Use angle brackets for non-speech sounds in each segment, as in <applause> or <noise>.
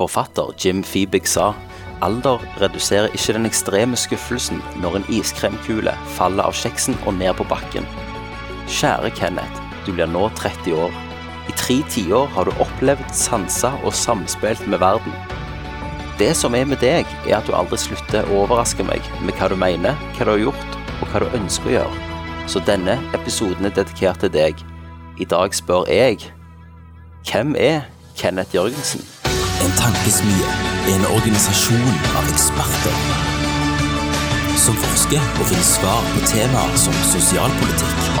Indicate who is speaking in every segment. Speaker 1: Forfatter Jim Fiebig sa alder reduserer ikke den ekstreme skuffelsen når en iskremkule faller av kjeksen og ned på bakken. Kjære Kenneth, du blir nå 30 år. I tre tiår har du opplevd, sansa og samspilt med verden. Det som er med deg, er at du aldri slutter å overraske meg med hva du mener, hva du har gjort, og hva du ønsker å gjøre. Så denne episoden er dedikert til deg. I dag spør jeg Hvem er Kenneth Jørgensen?
Speaker 2: En tankesmie er en organisasjon av eksperter som forsker og finner svar på temaer som sosialpolitikk,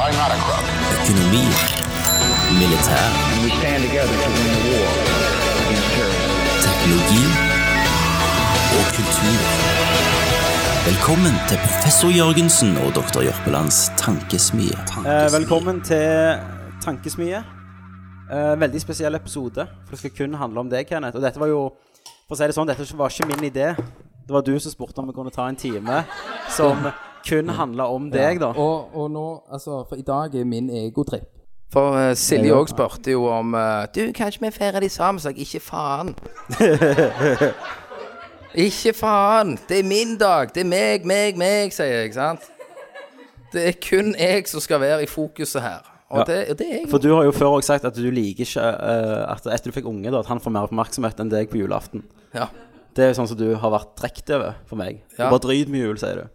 Speaker 2: økonomi, militær,
Speaker 3: We stand together to win the war against terrorism.
Speaker 2: teknologi og kultur. Velkommen til professor Jørgensen og doktor Jørpelands tankesmie.
Speaker 4: Eh, velkommen til Tankesmie. Eh, veldig spesiell episode, for det skal kun handle om deg, Kenneth. Og dette var jo, for å si det sånn, dette var ikke min idé. Det var du som spurte om vi kunne ta en time som kun handla om deg, da.
Speaker 5: Og, og nå, altså, for i dag er min egotripp.
Speaker 6: For eh, Silje òg spurte jo om eh, Du, kanskje vi feirer de sammen? Så jeg ikke faen.
Speaker 5: <laughs>
Speaker 6: ikke faen! Det er min dag! Det er meg, meg, meg, sier jeg, ikke sant? Det er kun jeg som skal være i fokuset her. Og,
Speaker 4: Ja.
Speaker 6: det, og det er jeg.
Speaker 4: For du har jo før òg sagt at du liker ikke eh, at etter du fikk unge, da, at han får mer oppmerksomhet enn deg på julaften.
Speaker 6: Ja.
Speaker 4: Det er jo sånn som du har vært trukket over for meg. Du
Speaker 6: Ja.
Speaker 4: bare drit med jul, sier du.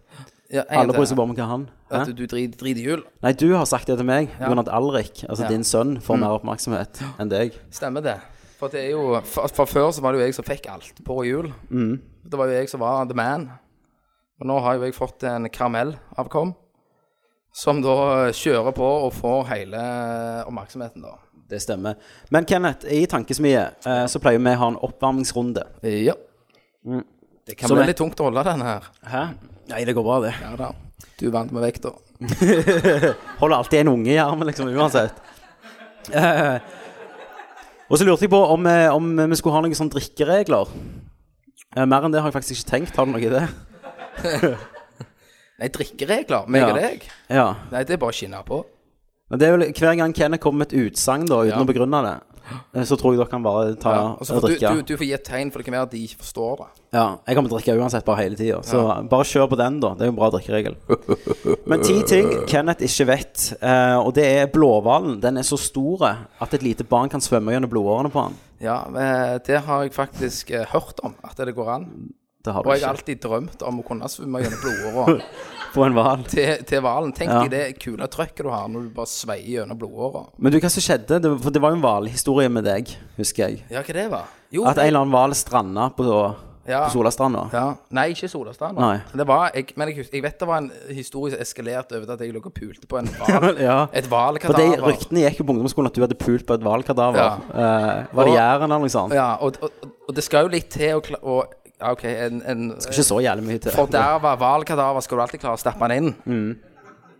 Speaker 6: ja en
Speaker 4: Alle
Speaker 6: til.
Speaker 4: bryr seg bare om hva han
Speaker 6: At
Speaker 4: Hæ?
Speaker 6: du, du driter drit i jul.
Speaker 4: Nei, du har sagt det til meg pga. at Alrik, altså
Speaker 6: Ja. Mm.
Speaker 4: din sønn, får mer oppmerksomhet enn deg.
Speaker 6: Stemmer det. For det er jo for, for før så var det jo jeg som fikk alt på jul. Det var jo jeg som var the man. Og nå har jo jeg fått en karamellavkom som da kjører på og får hele oppmerksomheten, da.
Speaker 4: Det stemmer. Men Kenneth, i Tankesmie eh, så pleier vi å ha en oppvarmingsrunde.
Speaker 6: Ja. Det kan
Speaker 4: Som
Speaker 6: bli
Speaker 4: er-
Speaker 6: litt tungt å holde denne her.
Speaker 4: Hæ? Nei, det går bra, det.
Speaker 6: Ja da. Du vant med vekta.
Speaker 4: Holder alltid en unge i armen, liksom, uansett. Eh, og så lurte jeg på om, eh, om vi skulle ha noen sånne drikkeregler. Eh, mer enn det har jeg faktisk ikke tenkt. Har du noe i det?
Speaker 6: Nei, drikkeregler. Meg og
Speaker 4: Ja.
Speaker 6: deg.
Speaker 4: Ja.
Speaker 6: Nei, det er bare å skinne på.
Speaker 4: Men det er vel hver gang Kenneth kommer med et utsagn da, uten
Speaker 6: Ja.
Speaker 4: å begrunne det, eh, så tror jeg dere kan bare ta
Speaker 6: Ja. Og så
Speaker 4: og
Speaker 6: får du,
Speaker 4: drikke.
Speaker 6: du, du får gi et tegn, for det kan være at de ikke forstår det.
Speaker 4: Ja, jeg kommer til å drikke uansett bare hele tida. Så bare kjør på den, da. Det er jo en bra drikkeregel. Men ti ting Kenneth ikke vet, eh, og det er blåhvalen. Den er så stor at et lite barn kan svømme gjennom blodårene på den.
Speaker 6: Ja, eh, det har jeg faktisk eh, hørt om, at det går an.
Speaker 4: Det har du
Speaker 6: Og jeg har
Speaker 4: ikke
Speaker 6: alltid drømt om å kunne svømme gjennom <laughs> blodåra
Speaker 4: på en hval.
Speaker 6: til, til hvalen. Tenk
Speaker 4: Ja.
Speaker 6: deg det kule trøkket du har når du bare sveier gjennom blodåra.
Speaker 4: Men du, hva som skjedde? Det, for det var jo en hvalhistorie med deg, husker jeg.
Speaker 6: Ja, hva det var? Jo,
Speaker 4: At en eller annen hval stranda på,
Speaker 6: Ja.
Speaker 4: på Solastranda.
Speaker 6: ja. Nei, ikke Solastrand.
Speaker 4: Nei.
Speaker 6: Det var, jeg, men jeg, hus- jeg vet det var en historie som eskalerte over til at jeg lå og pulte på en hval.
Speaker 4: <laughs> Ja.
Speaker 6: <laughs> Et
Speaker 4: For de
Speaker 6: hvalkadaver.
Speaker 4: ryktene gikk jo på ungdomsskolen at du hadde pult på et hvalkadaver.
Speaker 6: Ja.
Speaker 4: Eh, var det
Speaker 6: Og-
Speaker 4: Jæren eller noe sånt?
Speaker 6: Ja, og, og, og det skal jo litt til å klare Ja, OK, en, en eh,
Speaker 4: Ikke så jævlig mye til.
Speaker 6: forderva hvalkadaver skal du alltid klare å stappe den inn.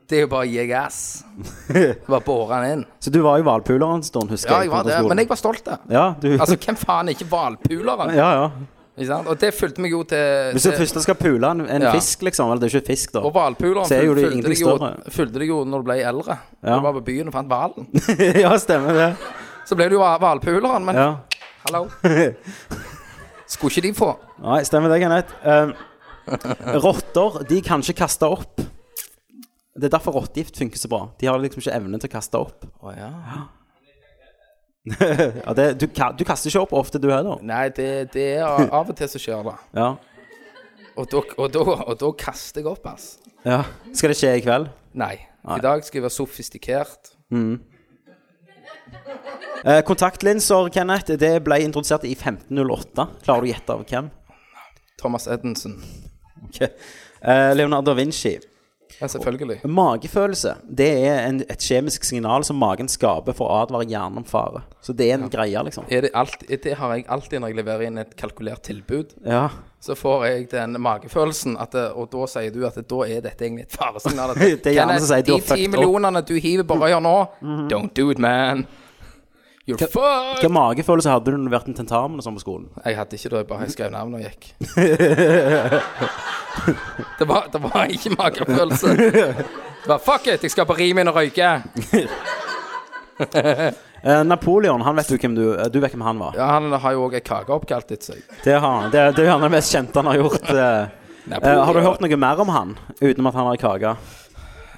Speaker 6: Det er jo bare å gi gass. <laughs> Bare båre den inn.
Speaker 4: Så du var jo hvalpuler en stund, husker
Speaker 6: Ja, jeg
Speaker 4: på
Speaker 6: var det,
Speaker 4: ungdomsskolen.
Speaker 6: men jeg var stolt, da.
Speaker 4: Ja, du
Speaker 6: Altså, hvem faen er ikke hvalpuleren?
Speaker 4: <laughs> Ja, ja.
Speaker 6: Ikke sant? Og det fulgte meg jo til,
Speaker 4: Hvis du
Speaker 6: til
Speaker 4: først skal pule en, en
Speaker 6: eh, Ja.
Speaker 4: fisk, liksom Eller det er jo ikke fisk, da.
Speaker 6: Og hvalpuleren
Speaker 4: Så er jo
Speaker 6: fulgte,
Speaker 4: det
Speaker 6: fulgte,
Speaker 4: ingenting
Speaker 6: deg jo-
Speaker 4: større.
Speaker 6: fulgte deg jo når du ble eldre.
Speaker 4: Ja.
Speaker 6: Du var på byen og fant hvalen.
Speaker 4: <laughs> ja, stemmer det.
Speaker 6: Så ble det jo hva- hvalpuleren, men
Speaker 4: Ja. <laughs>
Speaker 6: hallo. Skulle ikke de få?
Speaker 4: Nei, stemmer det, Kenneth.
Speaker 6: <laughs>
Speaker 4: Um, rotter de kan ikke kaste opp. Det er derfor rottegift funker så bra. De har liksom ikke evnen til å kaste opp.
Speaker 6: Å ja.
Speaker 4: Ja, det, du, ka- du kaster ikke opp ofte, du heller.
Speaker 6: Nei, det, det er av av og til så skjer det.
Speaker 4: Ja.
Speaker 6: Og da, og, da, og da kaster jeg opp, ass.
Speaker 4: ja. Skal det skje i kveld?
Speaker 6: Nei. I dag skal jeg være sofistikert.
Speaker 4: Eh, kontaktlinser, Kenneth, det ble introdusert i 1508. Klarer du å gjette av hvem? <laughs>
Speaker 6: Thomas Edinson.
Speaker 4: Ok. Eh, Leonardo da Vinci.
Speaker 6: Ja, selvfølgelig.
Speaker 4: Magefølelse det er en, et kjemisk signal som magen skaper for å advare hjernen om fare. Så det er en greie, liksom.
Speaker 6: Er det, alt, det har jeg alltid når jeg leverer inn et kalkulert tilbud.
Speaker 4: Ja.
Speaker 6: så får jeg den magefølelsen, at, det- og da sier du at det- da er dette egentlig et faresignal. at
Speaker 4: <laughs> Det er hjernen som sier du har
Speaker 6: de ti
Speaker 4: fucked opp." Mhm.
Speaker 6: millionene du hiver på røya nå, don't do it, man. You're fucked.
Speaker 4: Hvilken magefølelse hadde du når du vært en tentamen og sånn på skolen?
Speaker 6: Jeg hadde ikke det, jeg bare skrev navn og
Speaker 4: <laughs>
Speaker 6: gikk. det, var, det var ikke magefølelse. Det var fuck it, jeg skal på Rimin og røyke.
Speaker 4: Eh, Napoleon, han vet du hvem du eh, Du vet hvem han var.
Speaker 6: Ja, han har jo òg ei kake oppkalt etter seg.
Speaker 4: Det, har han. det, det er jo han det mest kjente han har gjort. eh. Eh, har du hørt noe mer om han, utenom at han har kake?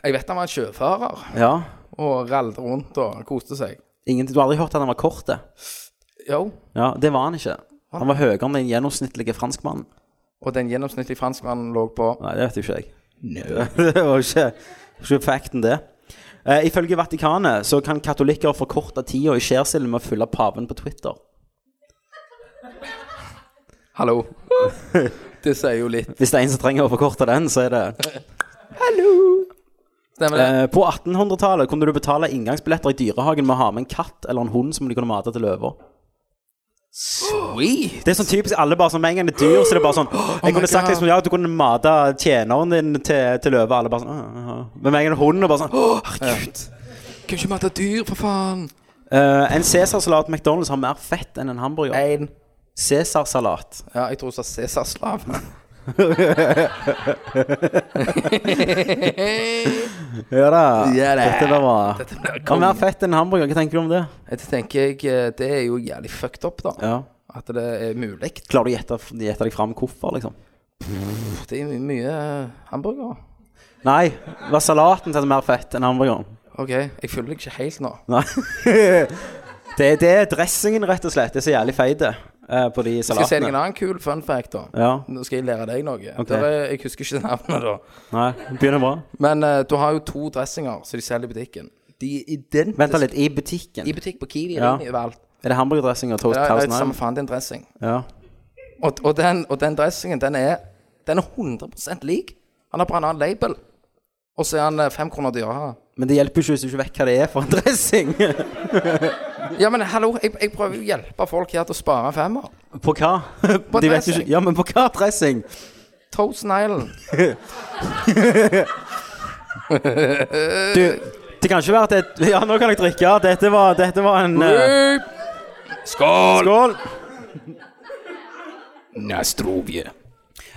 Speaker 6: Jeg vet han var en sjøfarer
Speaker 4: Ja.
Speaker 6: og ralte rundt og koste seg.
Speaker 4: Ingen, du har aldri hørt at han var kort? det?
Speaker 6: Jo.
Speaker 4: Ja, det var han ikke. Han var høyere enn den gjennomsnittlige franskmannen.
Speaker 6: Og den gjennomsnittlige franskmannen lå på
Speaker 4: Nei, det vet jo ikke jeg. <laughs> det var ikke, ikke facten, det. Eh, ifølge Vatikanet så kan katolikker forkorte tida i skjærsilden med å følge paven på Twitter.
Speaker 6: Hallo. <laughs> Det sier jo litt.
Speaker 4: Hvis det er en som trenger å forkorte den, så er det
Speaker 6: Stemmer det?
Speaker 4: eh, På 1800-tallet kunne du betale inngangsbilletter i dyrehagen med å ha med en katt eller en hund som de kunne mate til løver.
Speaker 6: Eh, Oi!
Speaker 4: Det er sånn typisk alle bare sånn Med en gang det er dyr, så er det bare sånn Jeg
Speaker 6: my
Speaker 4: kunne sagt
Speaker 6: God.
Speaker 4: liksom Ja, du kunne mate tjeneren din til, til løver, alle bare sånn «Åh, åh, åh». Men med en gang det er hunden, og bare sånn «Åh,
Speaker 6: Herregud. Kan ikke mate dyr, for faen.
Speaker 4: eh, En Cæsarsalat på McDonald's har mer fett enn en hamburger.
Speaker 6: Én.
Speaker 4: Cæsarsalat.
Speaker 6: Ja, jeg tror det står <laughs> Cæsarslav.
Speaker 4: Ja da.
Speaker 6: Ja da.
Speaker 4: Dette var bra.
Speaker 6: Dette blir
Speaker 4: Ja, mer
Speaker 6: konge.
Speaker 4: fett enn hamburger. Hva tenker du om det?
Speaker 6: Jeg tenker jeg eh, Det er jo jævlig fucked up, da.
Speaker 4: Ja.
Speaker 6: At det er mulig.
Speaker 4: Klarer du å gjette, gjette deg fram hvorfor, liksom?
Speaker 6: Det er mye eh, hamburgere.
Speaker 4: Nei, var salaten til mer fett enn hamburgeren?
Speaker 6: OK, jeg føler ikke helt nå.
Speaker 4: Nei. <laughs> det, det er dressingen, rett og slett. Det er så jævlig feit eh, på de
Speaker 6: Skal jeg si deg en
Speaker 4: salatene.
Speaker 6: annen kul fun fact, da?
Speaker 4: Ja.
Speaker 6: Nå skal jeg lære deg noe.
Speaker 4: Ok.
Speaker 6: Der er, jeg husker ikke navnet, da.
Speaker 4: Nei, begynner bra.
Speaker 6: Men eh, du har jo to dressinger som de selger i butikken. De er identiske
Speaker 4: Vent da litt. I butikken?
Speaker 6: i butikk på Kiwi.
Speaker 4: Ja.
Speaker 6: Ja. Overalt.
Speaker 4: Er det hamburgerdressing og
Speaker 6: Det
Speaker 4: toast
Speaker 6: er, det er
Speaker 4: Thousand
Speaker 6: samme
Speaker 4: Island?
Speaker 6: faen, det er en dressing.
Speaker 4: Ja.
Speaker 6: Og, og, den, og den dressingen, den er, den er 100 lik. Han har bare en annen label. Og så er han eh, fem kroner dyrere.
Speaker 4: Men det hjelper jo ikke hvis du ikke vet hva det er for en <laughs> dressing.
Speaker 6: Ja, men hallo, jeg, jeg prøver jo å hjelpe folk her til å spare en femmer.
Speaker 4: på hva?
Speaker 6: På
Speaker 4: de vet jo
Speaker 6: dressing.
Speaker 4: ikke Ja, men på hva dressing?
Speaker 6: Thousand Island.
Speaker 4: Du, det kan ikke være at det Ja, nå kan jeg drikke. Dette var, dette var en eh,
Speaker 6: Skål!
Speaker 4: Skål!
Speaker 6: Nastrovje.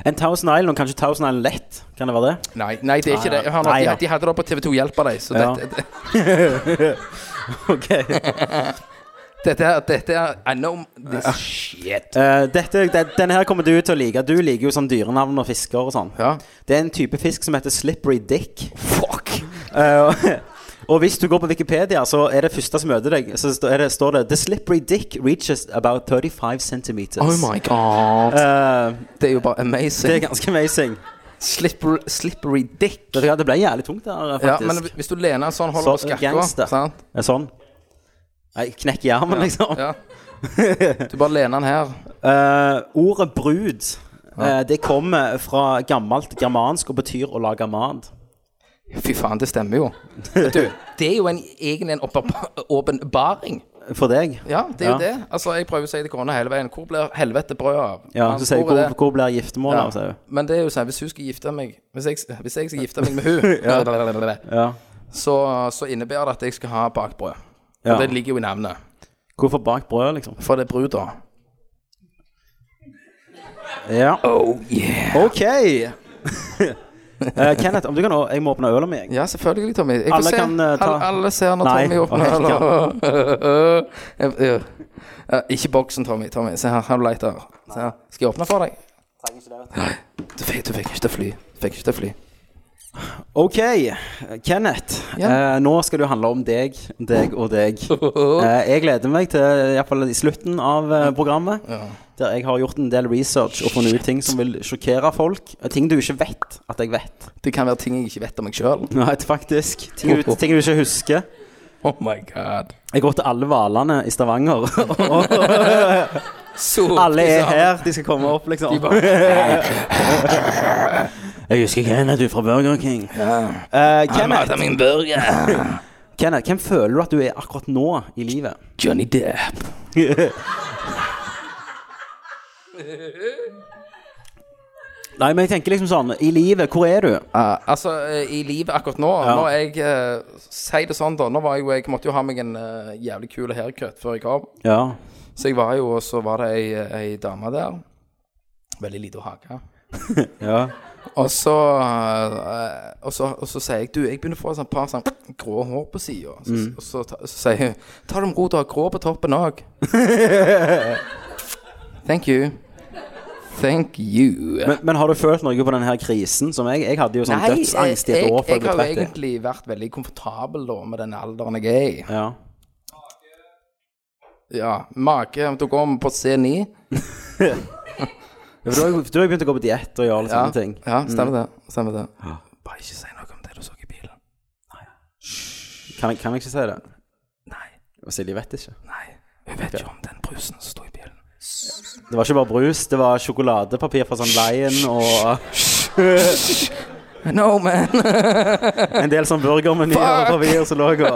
Speaker 4: En Thousand Island, og kanskje Thousand Island lett? Kan det være
Speaker 6: <laughs>
Speaker 4: det?
Speaker 6: Nei, nei, det er ikke det. Hør nå,
Speaker 4: Nei, ja.
Speaker 6: de, de hadde det på TV2 Hjelp av deg, så
Speaker 4: Ja.
Speaker 6: dette,
Speaker 4: Ok
Speaker 6: dette, er- dette er I know this shit.
Speaker 4: Eh, dette, de- Denne her kommer du til å like. Du liker jo sånn dyrenavn og fisker og sånn.
Speaker 6: Ja.
Speaker 4: Det er en type fisk som heter slippery dick.
Speaker 6: Fuck!
Speaker 4: Eh, og <laughs> hvis du går på Wikipedia, så er det første som møter deg, så står det, står det The slippery dick reaches about 35 centimeters.
Speaker 6: Oh my god.
Speaker 4: Eh,
Speaker 6: Det er jo
Speaker 4: det
Speaker 6: bare
Speaker 4: er
Speaker 6: amazing.
Speaker 4: ganske amazing.
Speaker 6: Slipper, slippery dick.
Speaker 4: Vet du hva, Det ble jævlig tungt der,
Speaker 6: Ja,
Speaker 4: faktisk.
Speaker 6: men hvis du lener en sånn, holder på
Speaker 4: Sånn gangster.
Speaker 6: skakka sant?
Speaker 4: Eh, Sånn. Nei, knekk i armen, liksom. <laughs>
Speaker 6: Ja. Du bare lener den her.
Speaker 4: Eh, ordet brud eh, Det kommer fra gammelt germansk og betyr å lage mat.
Speaker 6: Fy faen, det stemmer jo. Du, det er jo en, egentlig en åpenba- åpenbaring.
Speaker 4: For deg.
Speaker 6: Ja, det er jo
Speaker 4: Ja.
Speaker 6: det. Altså, jeg prøver å si til kona hele veien Hvor blir helvete brødet av?
Speaker 4: Ja,
Speaker 6: Men
Speaker 4: så sier jeg
Speaker 6: hvor
Speaker 4: hvor,
Speaker 6: er det?
Speaker 4: hvor blir giftermålet av,
Speaker 6: ja.
Speaker 4: sier hun.
Speaker 6: Men det er jo sånn, hvis hun skal gifte meg Hvis jeg, hvis jeg skal gifte meg
Speaker 4: <laughs>
Speaker 6: med hun
Speaker 4: Ja.
Speaker 6: så, så innebærer det at jeg skal ha bakbrød. Og
Speaker 4: Ja.
Speaker 6: det ligger jo i navnet.
Speaker 4: Hvorfor bak brødet, liksom?
Speaker 6: For det er brud, da.
Speaker 4: Ja.
Speaker 6: Oh yeah.
Speaker 4: OK! <laughs> Eh, Kenneth, om du kan å- Jeg må åpne øla mi, jeg.
Speaker 6: Ja, selvfølgelig, Tommy. Jeg får
Speaker 4: Alle
Speaker 6: se.
Speaker 4: kan, eh, ta-
Speaker 6: alle, alle ser når
Speaker 4: Nei.
Speaker 6: Tommy åpner
Speaker 4: Å,
Speaker 6: øl.
Speaker 4: ja.
Speaker 6: <laughs> og- Eh, eh, eh, Ikke boksen, Tommy. Tommy, Se her, har du lighter. Se her. Skal jeg åpne for deg? Nei. Du fikk, du fikk ikke til å fly. Du fikk ikke til å fly.
Speaker 4: OK, Kenneth.
Speaker 6: Ja.
Speaker 4: Eh, nå skal det jo handle om deg, deg og <laughs> deg. Eh, jeg gleder meg til iallfall i slutten av eh, programmet, der jeg har gjort en del research og funnet ut ting som vil sjokkere folk. eh, Ting du ikke vet at jeg vet.
Speaker 6: Det kan være ting jeg ikke vet om meg sjøl.
Speaker 4: <laughs> Nei, faktisk. Ting du, ting du ikke husker.
Speaker 6: Oh my god.
Speaker 4: Jeg går til alle hvalene i Stavanger. <laughs> og
Speaker 6: Så
Speaker 4: alle er her. De skal komme opp, liksom. <laughs> jeg husker Kenneth, du er fra Burger King. Eh, Kenneth,
Speaker 6: Mata min burger.
Speaker 4: Kenneth, hvem føler du at du er akkurat nå i livet?
Speaker 6: Johnny Depp.
Speaker 4: <laughs> Nei, men jeg tenker liksom sånn I livet, hvor er du?
Speaker 6: Eh, altså, eh, i livet akkurat nå
Speaker 4: Ja.
Speaker 6: Når jeg eh, sier det sånn, da Nå var jeg jo Jeg måtte jo ha meg en eh, jævlig kul haircut før jeg kom.
Speaker 4: Ja.
Speaker 6: Så jeg var jo, og så var det ei, ei dame der. Veldig lite hake.
Speaker 4: ja.
Speaker 6: Og så, eh, og, så, og så sier jeg Du, jeg begynner å få et sånt par sånn grå hår på sida. Så,
Speaker 4: Mm.
Speaker 6: Og så, ta- så sier hun Ta det med ro, du har grå på toppen òg.
Speaker 4: <laughs>
Speaker 6: Thank you. Thank you.
Speaker 4: Men, men har du følt noe på denne her krisen? Som jeg, jeg hadde jo sånn dødsangst i et
Speaker 6: jeg,
Speaker 4: år før
Speaker 6: jeg
Speaker 4: jeg ble
Speaker 6: har jo
Speaker 4: 30.
Speaker 6: egentlig vært veldig komfortabel da med den alderen jeg er i.
Speaker 4: Ja.
Speaker 6: Ja, Make tok om på C9.
Speaker 4: Ja, for Du har jo du har jo begynt å gå på diett og gjøre alle
Speaker 6: Ja,
Speaker 4: sånne ting. Mm.
Speaker 6: ja stemmer det. Stemmer det. Bare ikke si noe om det du så i bilen.
Speaker 4: Kan, jeg- kan jeg ikke si det?
Speaker 6: Nei.
Speaker 4: Og Silje vet ikke.
Speaker 6: Nei. Hun vet jo om den brusen som sto i bilen.
Speaker 4: Det var ikke bare brus, det var sjokoladepapir fra sånn Lion
Speaker 6: <laughs>
Speaker 4: og
Speaker 6: <laughs> No, man.
Speaker 4: en del sånn burgermenyer og papir som lå og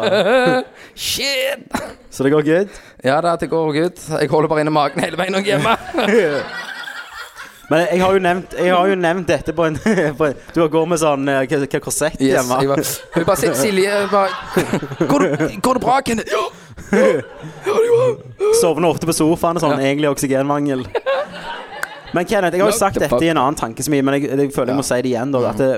Speaker 6: Shit!
Speaker 4: Så det går good.
Speaker 6: Ja da, det går ut. Jeg holder bare inne magen hele veien når jeg er <laughs> hjemme.
Speaker 4: Men jeg har jo nevnt, jeg har jo nevnt dette på en, <laughs> på en Du går med sånn eh, hva, hva korsett
Speaker 6: Yes,
Speaker 4: hjemme.
Speaker 6: jeg bare, hun bare sier Silje hun <laughs> bare går det, går det bra, Kenneth? Ja!
Speaker 4: Sovner ofte på sofaen og sånn. Egentlig oksygenmangel. Men Kenneth, jeg har jo sagt
Speaker 6: the
Speaker 4: dette
Speaker 6: fuck? Mm.
Speaker 4: i en annen tankesmi, men jeg, jeg føler jeg må si det igjen. da at det,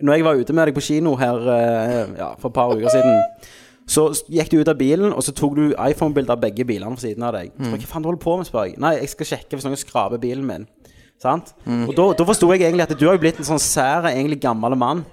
Speaker 4: Når jeg var ute med deg på kino her eh, ja, for et par uker siden, så s- gikk du ut av bilen, og så tok du iPhone-bilder av begge bilene på siden av deg.
Speaker 6: Mm.
Speaker 4: Så, Hva faen du holder på med, spør jeg. Nei, jeg skal sjekke hvis noen skraper bilen min. Sant?
Speaker 6: Mm.
Speaker 4: Og da, da forsto jeg egentlig at du har jo blitt en sånn sær, egentlig gammel mann.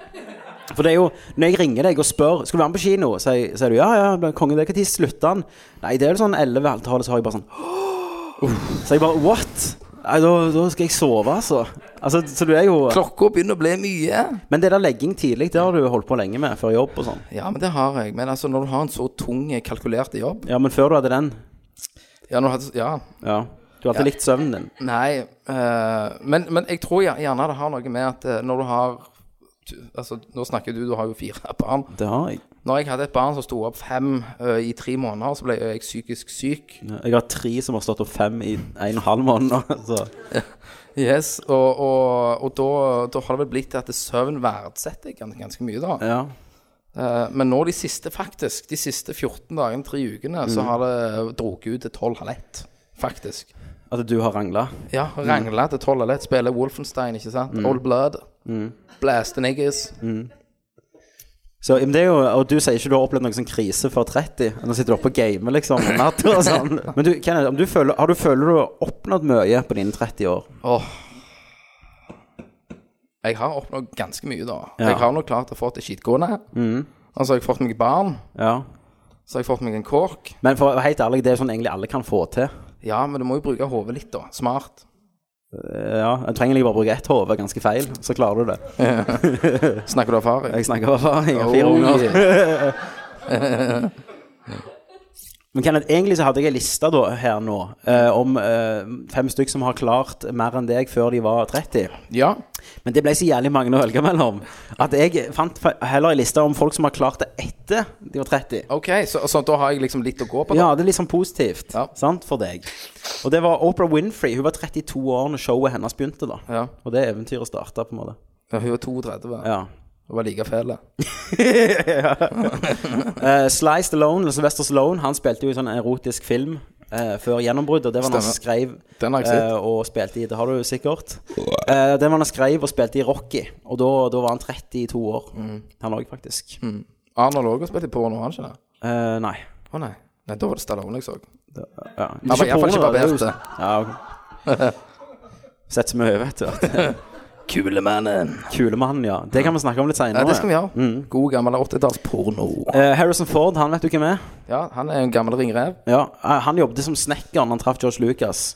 Speaker 4: For det er jo, når jeg ringer deg og spør Skal du være med på kino, sier, sier du ja, ja, men kongen, det er når slutter han? Nei, det er jo sånn 11-halvtallet, så har jeg bare sånn <gasps> Så jeg bare what? Nei, da, da skal jeg sove, altså. altså. Så du er jo
Speaker 6: Klokka begynner å bli mye.
Speaker 4: Men det der legging tidlig, det har du holdt på lenge med, før jobb og sånn.
Speaker 6: Ja, men det har jeg. Men altså, når du har en så tung, kalkulert jobb
Speaker 4: Ja, men før du hadde den
Speaker 6: Ja, når du hadde, ja.
Speaker 4: Ja. Du har alltid likt søvnen din.
Speaker 6: Nei, eh, men, men jeg tror gjer- gjerne det har noe med at eh, når du har du- Altså, nå snakker du, du har jo fire barn.
Speaker 4: Det har jeg.
Speaker 6: Når jeg hadde et barn som sto opp fem eh, i tre måneder, så ble jeg psykisk syk.
Speaker 4: Jeg har tre som har stått opp fem i en og en halv måned nå. <laughs> Så.
Speaker 6: Yes, og, og, og da, da har det vel blitt at søvn verdsetter jeg gans- ganske mye, da.
Speaker 4: Ja.
Speaker 6: Eh, men nå de siste, faktisk, de siste 14 dagene, tre ukene, så har det drukket ut til tolv halv ett. Faktisk.
Speaker 4: At du har rangla.
Speaker 6: Ja, rangla til tolv halv ett. Spiller Wolfenstein, ikke sant? Old Blood. Blast the niggas.
Speaker 4: Så, men det er jo, og du sier ikke du har opplevd noen sånn krise før 30. Nå sitter du oppe og gamer, liksom. om natten og <laughs> sånn. Men du, Kenneth, om du føler, har du føler du har oppnådd mye på dine 30 år?
Speaker 6: Åh. Jeg har oppnådd ganske mye, da.
Speaker 4: Ja.
Speaker 6: Jeg har nok klart å få til skitgående. Og så har jeg fått meg barn.
Speaker 4: Ja.
Speaker 6: Så har jeg fått meg en kork.
Speaker 4: Men for å være helt ærlig, det er jo sånn egentlig alle kan få til.
Speaker 6: Ja, men du må jo bruke hodet litt, da. Smart.
Speaker 4: Eh, Ja, Jeg trenger egentlig bare bruke ett hode, ganske feil, så klarer du det.
Speaker 6: Snakker du av erfaring?
Speaker 4: Jeg snakker av erfaring. jeg har
Speaker 6: Oh,
Speaker 4: Fire unger.
Speaker 6: yeah.
Speaker 4: <laughs> Men Kenneth, egentlig så hadde jeg en liste da, her nå eh, om eh, fem stykk som har klart mer enn deg før de var 30.
Speaker 6: <laughs> Ja.
Speaker 4: Men det ble så jævlig mange å velge mellom at jeg fant fe- heller en liste om folk som har klart det etter de var 30.
Speaker 6: OK, så, så da har jeg liksom litt å gå på, da.
Speaker 4: Ja, det er litt sånn positivt
Speaker 6: Ja.
Speaker 4: sant, for deg. Og det var Oprah Winfrey. Hun var 32 år når showet hennes begynte. da
Speaker 6: Ja.
Speaker 4: Og det eventyret starta, på en måte.
Speaker 6: Ja, Hun var 32.
Speaker 4: Ja.
Speaker 6: Hun var like fæl.
Speaker 4: Uh, Sly Stallone, eller Sylvester Stallone, han spilte jo i sånn erotisk film eh, før gjennombruddet. Det var han som skrev
Speaker 6: Den har jeg sett.
Speaker 4: eh, og spilte i Det har du sikkert. Eh, den var han skrev og spilte i Rocky, og da, da var han 32 år,
Speaker 6: Mm.
Speaker 4: han òg, faktisk.
Speaker 6: Arnold Åge spilte i porno, han ikke det?
Speaker 4: Eh, nei.
Speaker 6: Å nei. Nei, da var det Stallone jeg så.
Speaker 4: Ja.
Speaker 6: Han var iallfall ikke
Speaker 4: porno, det er jo-
Speaker 6: barbert.
Speaker 4: Ja,
Speaker 6: <laughs>
Speaker 4: ok. Sett som øye, vet du.
Speaker 6: Kulemannen.
Speaker 4: Kulemannen, ja. Det kan vi snakke om litt seinere.
Speaker 6: Ja, det skal vi gjøre.
Speaker 4: Mm.
Speaker 6: God gammel 80-tallsporno.
Speaker 4: Harrison Ford, han vet du hvem er?
Speaker 6: Ja, han er en gammel ringrev.
Speaker 4: Ja, eh, Han jobbet som snekker da han traff George Lucas.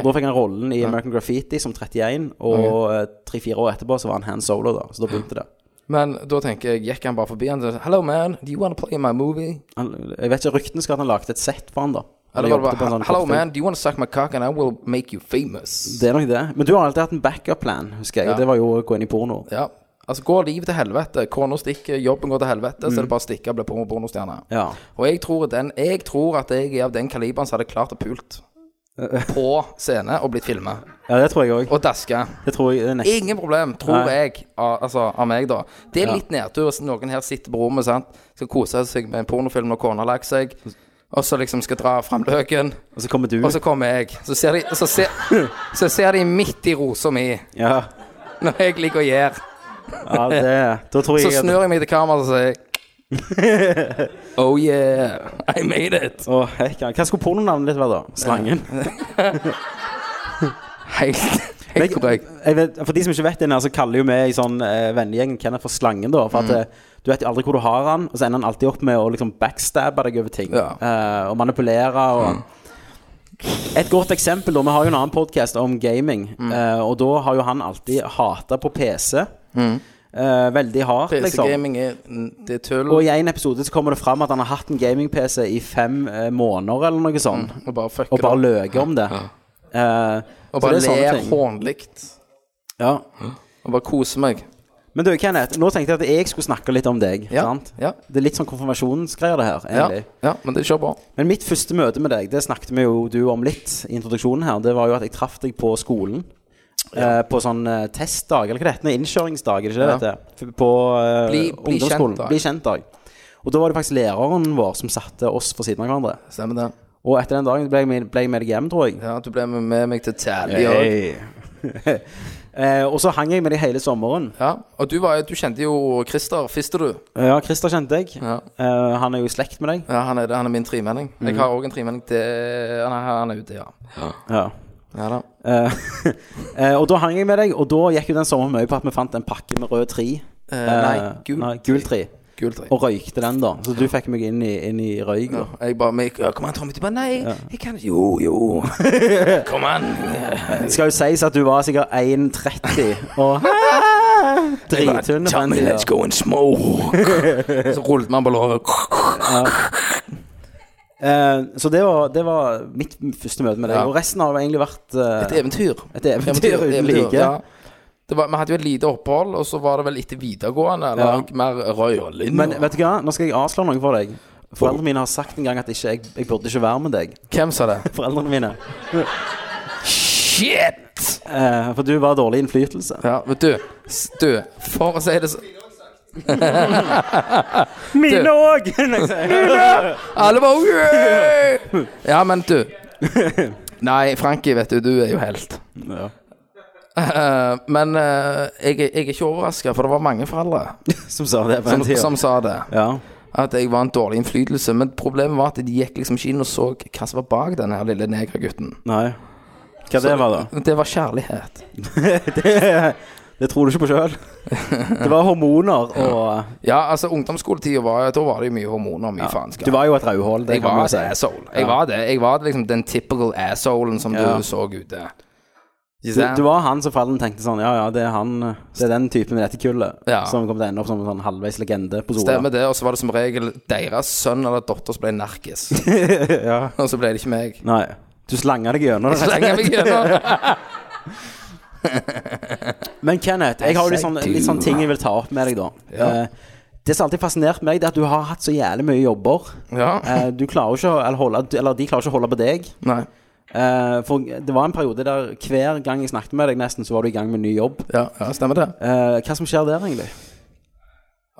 Speaker 4: Og Da fikk han rollen i American Graffiti som 31, og eh, tre-fire år etterpå så var han hand solo, da. Så da begynte det.
Speaker 6: Men da tenker jeg, gikk han bare forbi han og sa Hello man, do you wanna play in my movie?
Speaker 4: Han, jeg vet ikke, Ryktene skal at han lagde et sett for han da. Han
Speaker 6: Eller var det
Speaker 4: jobbet på en
Speaker 6: bare
Speaker 4: sånn
Speaker 6: Hello
Speaker 4: kortfilm.
Speaker 6: man, do you wanna suck my cock and I will make you famous?
Speaker 4: Det er nok det. Men du har alltid hatt en backup-plan, husker jeg.
Speaker 6: Ja.
Speaker 4: Det var jo å gå inn i porno.
Speaker 6: Ja. Altså, går livet til helvete, kona stikker, jobben går til helvete, så er det bare å stikke og bli porno- pornostjerne.
Speaker 4: Ja. <laughs>
Speaker 6: Og jeg tror, den, jeg tror at jeg er av den kaliberen som hadde klart å pult på scene og blitt filma.
Speaker 4: ja, det tror jeg òg.
Speaker 6: Og daska.
Speaker 4: Det tror jeg eh, det er nesten.
Speaker 6: Ingen problem, tror
Speaker 4: Nei.
Speaker 6: jeg, av, altså, av meg, da. Det er litt nedtur hvis noen her sitter på rommet, sant. Skal kose seg med en pornofilm når kona har lagt seg. Og så liksom skal dra fram løken.
Speaker 4: Og så kommer du.
Speaker 6: Og så kommer jeg. Så ser de, så ser, så ser de midt i rosa mi.
Speaker 4: Ja.
Speaker 6: når jeg ligger og gjør.
Speaker 4: Ja, det, da tror
Speaker 6: <laughs> Så
Speaker 4: jeg
Speaker 6: snur jeg meg til kameraet og sier Oh yeah, I made it.
Speaker 4: Å, hekka. Hva skulle pornonavnet ditt være, da? Slangen?
Speaker 6: Helt, helt korrekt.
Speaker 4: jeg vet, for de som ikke vet det, så kaller jo vi i sånn eh, vennegjeng Kenneth for Slangen, da. For at
Speaker 6: Mm.
Speaker 4: eh, du vet jo aldri hvor du har han, og så ender han alltid opp med å liksom backstabbe deg over ting.
Speaker 6: Ja. Mm.
Speaker 4: eh, og manipulere og Et godt eksempel, da. Vi har jo en annen podkast om gaming,
Speaker 6: Mm.
Speaker 4: eh, og da har jo han alltid hata på PC.
Speaker 6: Mm.
Speaker 4: eh, veldig hardt, liksom.
Speaker 6: PC-gaming er Det er tull.
Speaker 4: Og i en episode så kommer det fram at han har hatt en gaming-PC i fem eh, måneder, eller noe sånt.
Speaker 6: Og bare fucker
Speaker 4: Og bare
Speaker 6: det.
Speaker 4: løker om det. Eh, så
Speaker 6: Mm. Og bare
Speaker 4: det er sånne
Speaker 6: ler
Speaker 4: ting.
Speaker 6: hånlig.
Speaker 4: Ja.
Speaker 6: Og bare koser meg.
Speaker 4: Men du, Kenneth, nå tenkte jeg at jeg skulle snakke litt om deg.
Speaker 6: Ja,
Speaker 4: sant?
Speaker 6: ja.
Speaker 4: Det er litt sånn konfirmasjonsgreier, det her.
Speaker 6: Ja,
Speaker 4: egentlig
Speaker 6: ja men det kjører bra.
Speaker 4: Men mitt første møte med deg, det snakket vi jo du om litt i introduksjonen her. Det var jo at jeg traff deg på skolen. eh, på sånn eh, testdag, eller hva det heter. nå, Innkjøringsdag, er det ikke det det
Speaker 6: Ja.
Speaker 4: heter? F- På eh,
Speaker 6: Bli- bli
Speaker 4: ungdomsskolen.
Speaker 6: kjent-dag.
Speaker 4: Bli kjent-dag. Og da var det faktisk læreren vår som satte oss for siden av hverandre.
Speaker 6: Stemmer det.
Speaker 4: Og etter den dagen ble jeg med, ble jeg med deg hjem, tror jeg.
Speaker 6: Ja, Du ble med- med meg til Tally òg.
Speaker 4: <laughs> Eh, og så hang jeg med deg hele sommeren.
Speaker 6: Ja, og du, var, du kjente jo Christer Fister, du.
Speaker 4: Ja, Christer kjente jeg.
Speaker 6: Ja.
Speaker 4: Eh, han er jo i slekt med deg.
Speaker 6: Ja, han er, det, han er min tremenning.
Speaker 4: Mm.
Speaker 6: Jeg har òg en tremenning til Han er, han er ute, ja.
Speaker 4: Ja.
Speaker 6: ja da.
Speaker 4: Eh, <laughs> eh, og da hang jeg med deg, og da gikk jo den sommeren mye på at vi fant en pakke med rød tri.
Speaker 6: Eh,
Speaker 4: Eh,
Speaker 6: nei, gul,
Speaker 4: nei, gul tri.
Speaker 6: gul tre.
Speaker 4: Og røykte den, da. Så du fikk meg inn i, inn i røyk.
Speaker 6: Ja,
Speaker 4: da.
Speaker 6: jeg bare men, ja, Kom an, Tommy. Du bare Nei, jeg kan ikke Jo,
Speaker 4: <laughs>
Speaker 6: jo. Kom an.
Speaker 4: Det skal jo sies at du var sikkert 1,30 og <laughs>
Speaker 6: Jeg bare,
Speaker 4: drittynn. på den
Speaker 6: Tommy,
Speaker 4: tida.
Speaker 6: let's go and
Speaker 4: <laughs>
Speaker 6: smoke. Så rullet man på låret.
Speaker 4: Eh, Så det var, det var mitt første møte med deg.
Speaker 6: Ja.
Speaker 4: Og resten har jo egentlig vært eh,
Speaker 6: Et eventyr.
Speaker 4: et eventyr uten
Speaker 6: eventyr,
Speaker 4: like.
Speaker 6: ja. Det var, vi hadde jo et lite opphold, og så var det vel etter videregående. Eller
Speaker 4: Ja.
Speaker 6: mer røyling.
Speaker 4: Men vet du hva, nå skal jeg avsløre noe for deg. Foreldrene mine har sagt en gang at ikke, jeg, jeg burde ikke være med deg.
Speaker 6: Hvem sa det?
Speaker 4: Foreldrene mine.
Speaker 6: Shit!
Speaker 4: Eh, for du var dårlig innflytelse.
Speaker 6: Ja, men du, s- du, for å si
Speaker 4: <laughs>
Speaker 6: det sånn
Speaker 4: Mine òg! <laughs>
Speaker 6: Alle bare «Yeah!» Ja, men du Nei, Frankie, vet du, du er jo helt. <laughs>
Speaker 4: Ja.
Speaker 6: Eh, men eh, jeg, er- jeg er ikke overraska, for det var mange foreldre
Speaker 4: Som sa det på
Speaker 6: som,
Speaker 4: den tida.
Speaker 6: som sa det.
Speaker 4: Ja.
Speaker 6: At jeg var en dårlig innflytelse. Men problemet var at de gikk liksom ikke inn og så hva som var bak den her lille negergutten.
Speaker 4: Nei. Hva det var, da?
Speaker 6: Det var kjærlighet.
Speaker 4: <laughs> det, det tror du ikke på sjøl. Det var hormoner og
Speaker 6: Ja, altså, ungdomsskoletida var Da var det jo mye hormoner og mye faenskap.
Speaker 4: Du var jo et rødhål, det
Speaker 6: jeg
Speaker 4: kan
Speaker 6: var
Speaker 4: man jo
Speaker 6: et
Speaker 4: si.
Speaker 6: asshole. Jeg var det. Jeg var liksom den typical assholen som
Speaker 4: Ja.
Speaker 6: du så ute.
Speaker 4: Du, du var han som foreldrene tenkte sånn Ja, ja, det er han Det er den typen i dette kullet
Speaker 6: Ja.
Speaker 4: som kommer til å ende opp som en sånn halvveis legende på Sola.
Speaker 6: Stemmer det, og så var det som regel deres sønn eller datter som ble
Speaker 4: <laughs>
Speaker 6: narkis. Og så ble det ikke meg.
Speaker 4: Nei. Du slanga deg gjennom det.
Speaker 6: Så
Speaker 4: rett og
Speaker 6: lenge
Speaker 4: slett.
Speaker 6: vi gjør det.
Speaker 4: Men Kenneth, jeg har jo litt sånn, litt sånn ting jeg vil ta opp med deg, da. Eh, det som alltid har fascinert meg, det er at du har hatt så jævlig mye jobber.
Speaker 6: Ja.
Speaker 4: Eh, du klarer jo ikke å eller, holde, eller de klarer ikke å holde på deg.
Speaker 6: Nei.
Speaker 4: Eh, for det var en periode der hver gang jeg snakket med deg, nesten, så var du i gang med en ny jobb.
Speaker 6: Ja, ja, stemmer det.
Speaker 4: Eh, hva som skjer der, egentlig?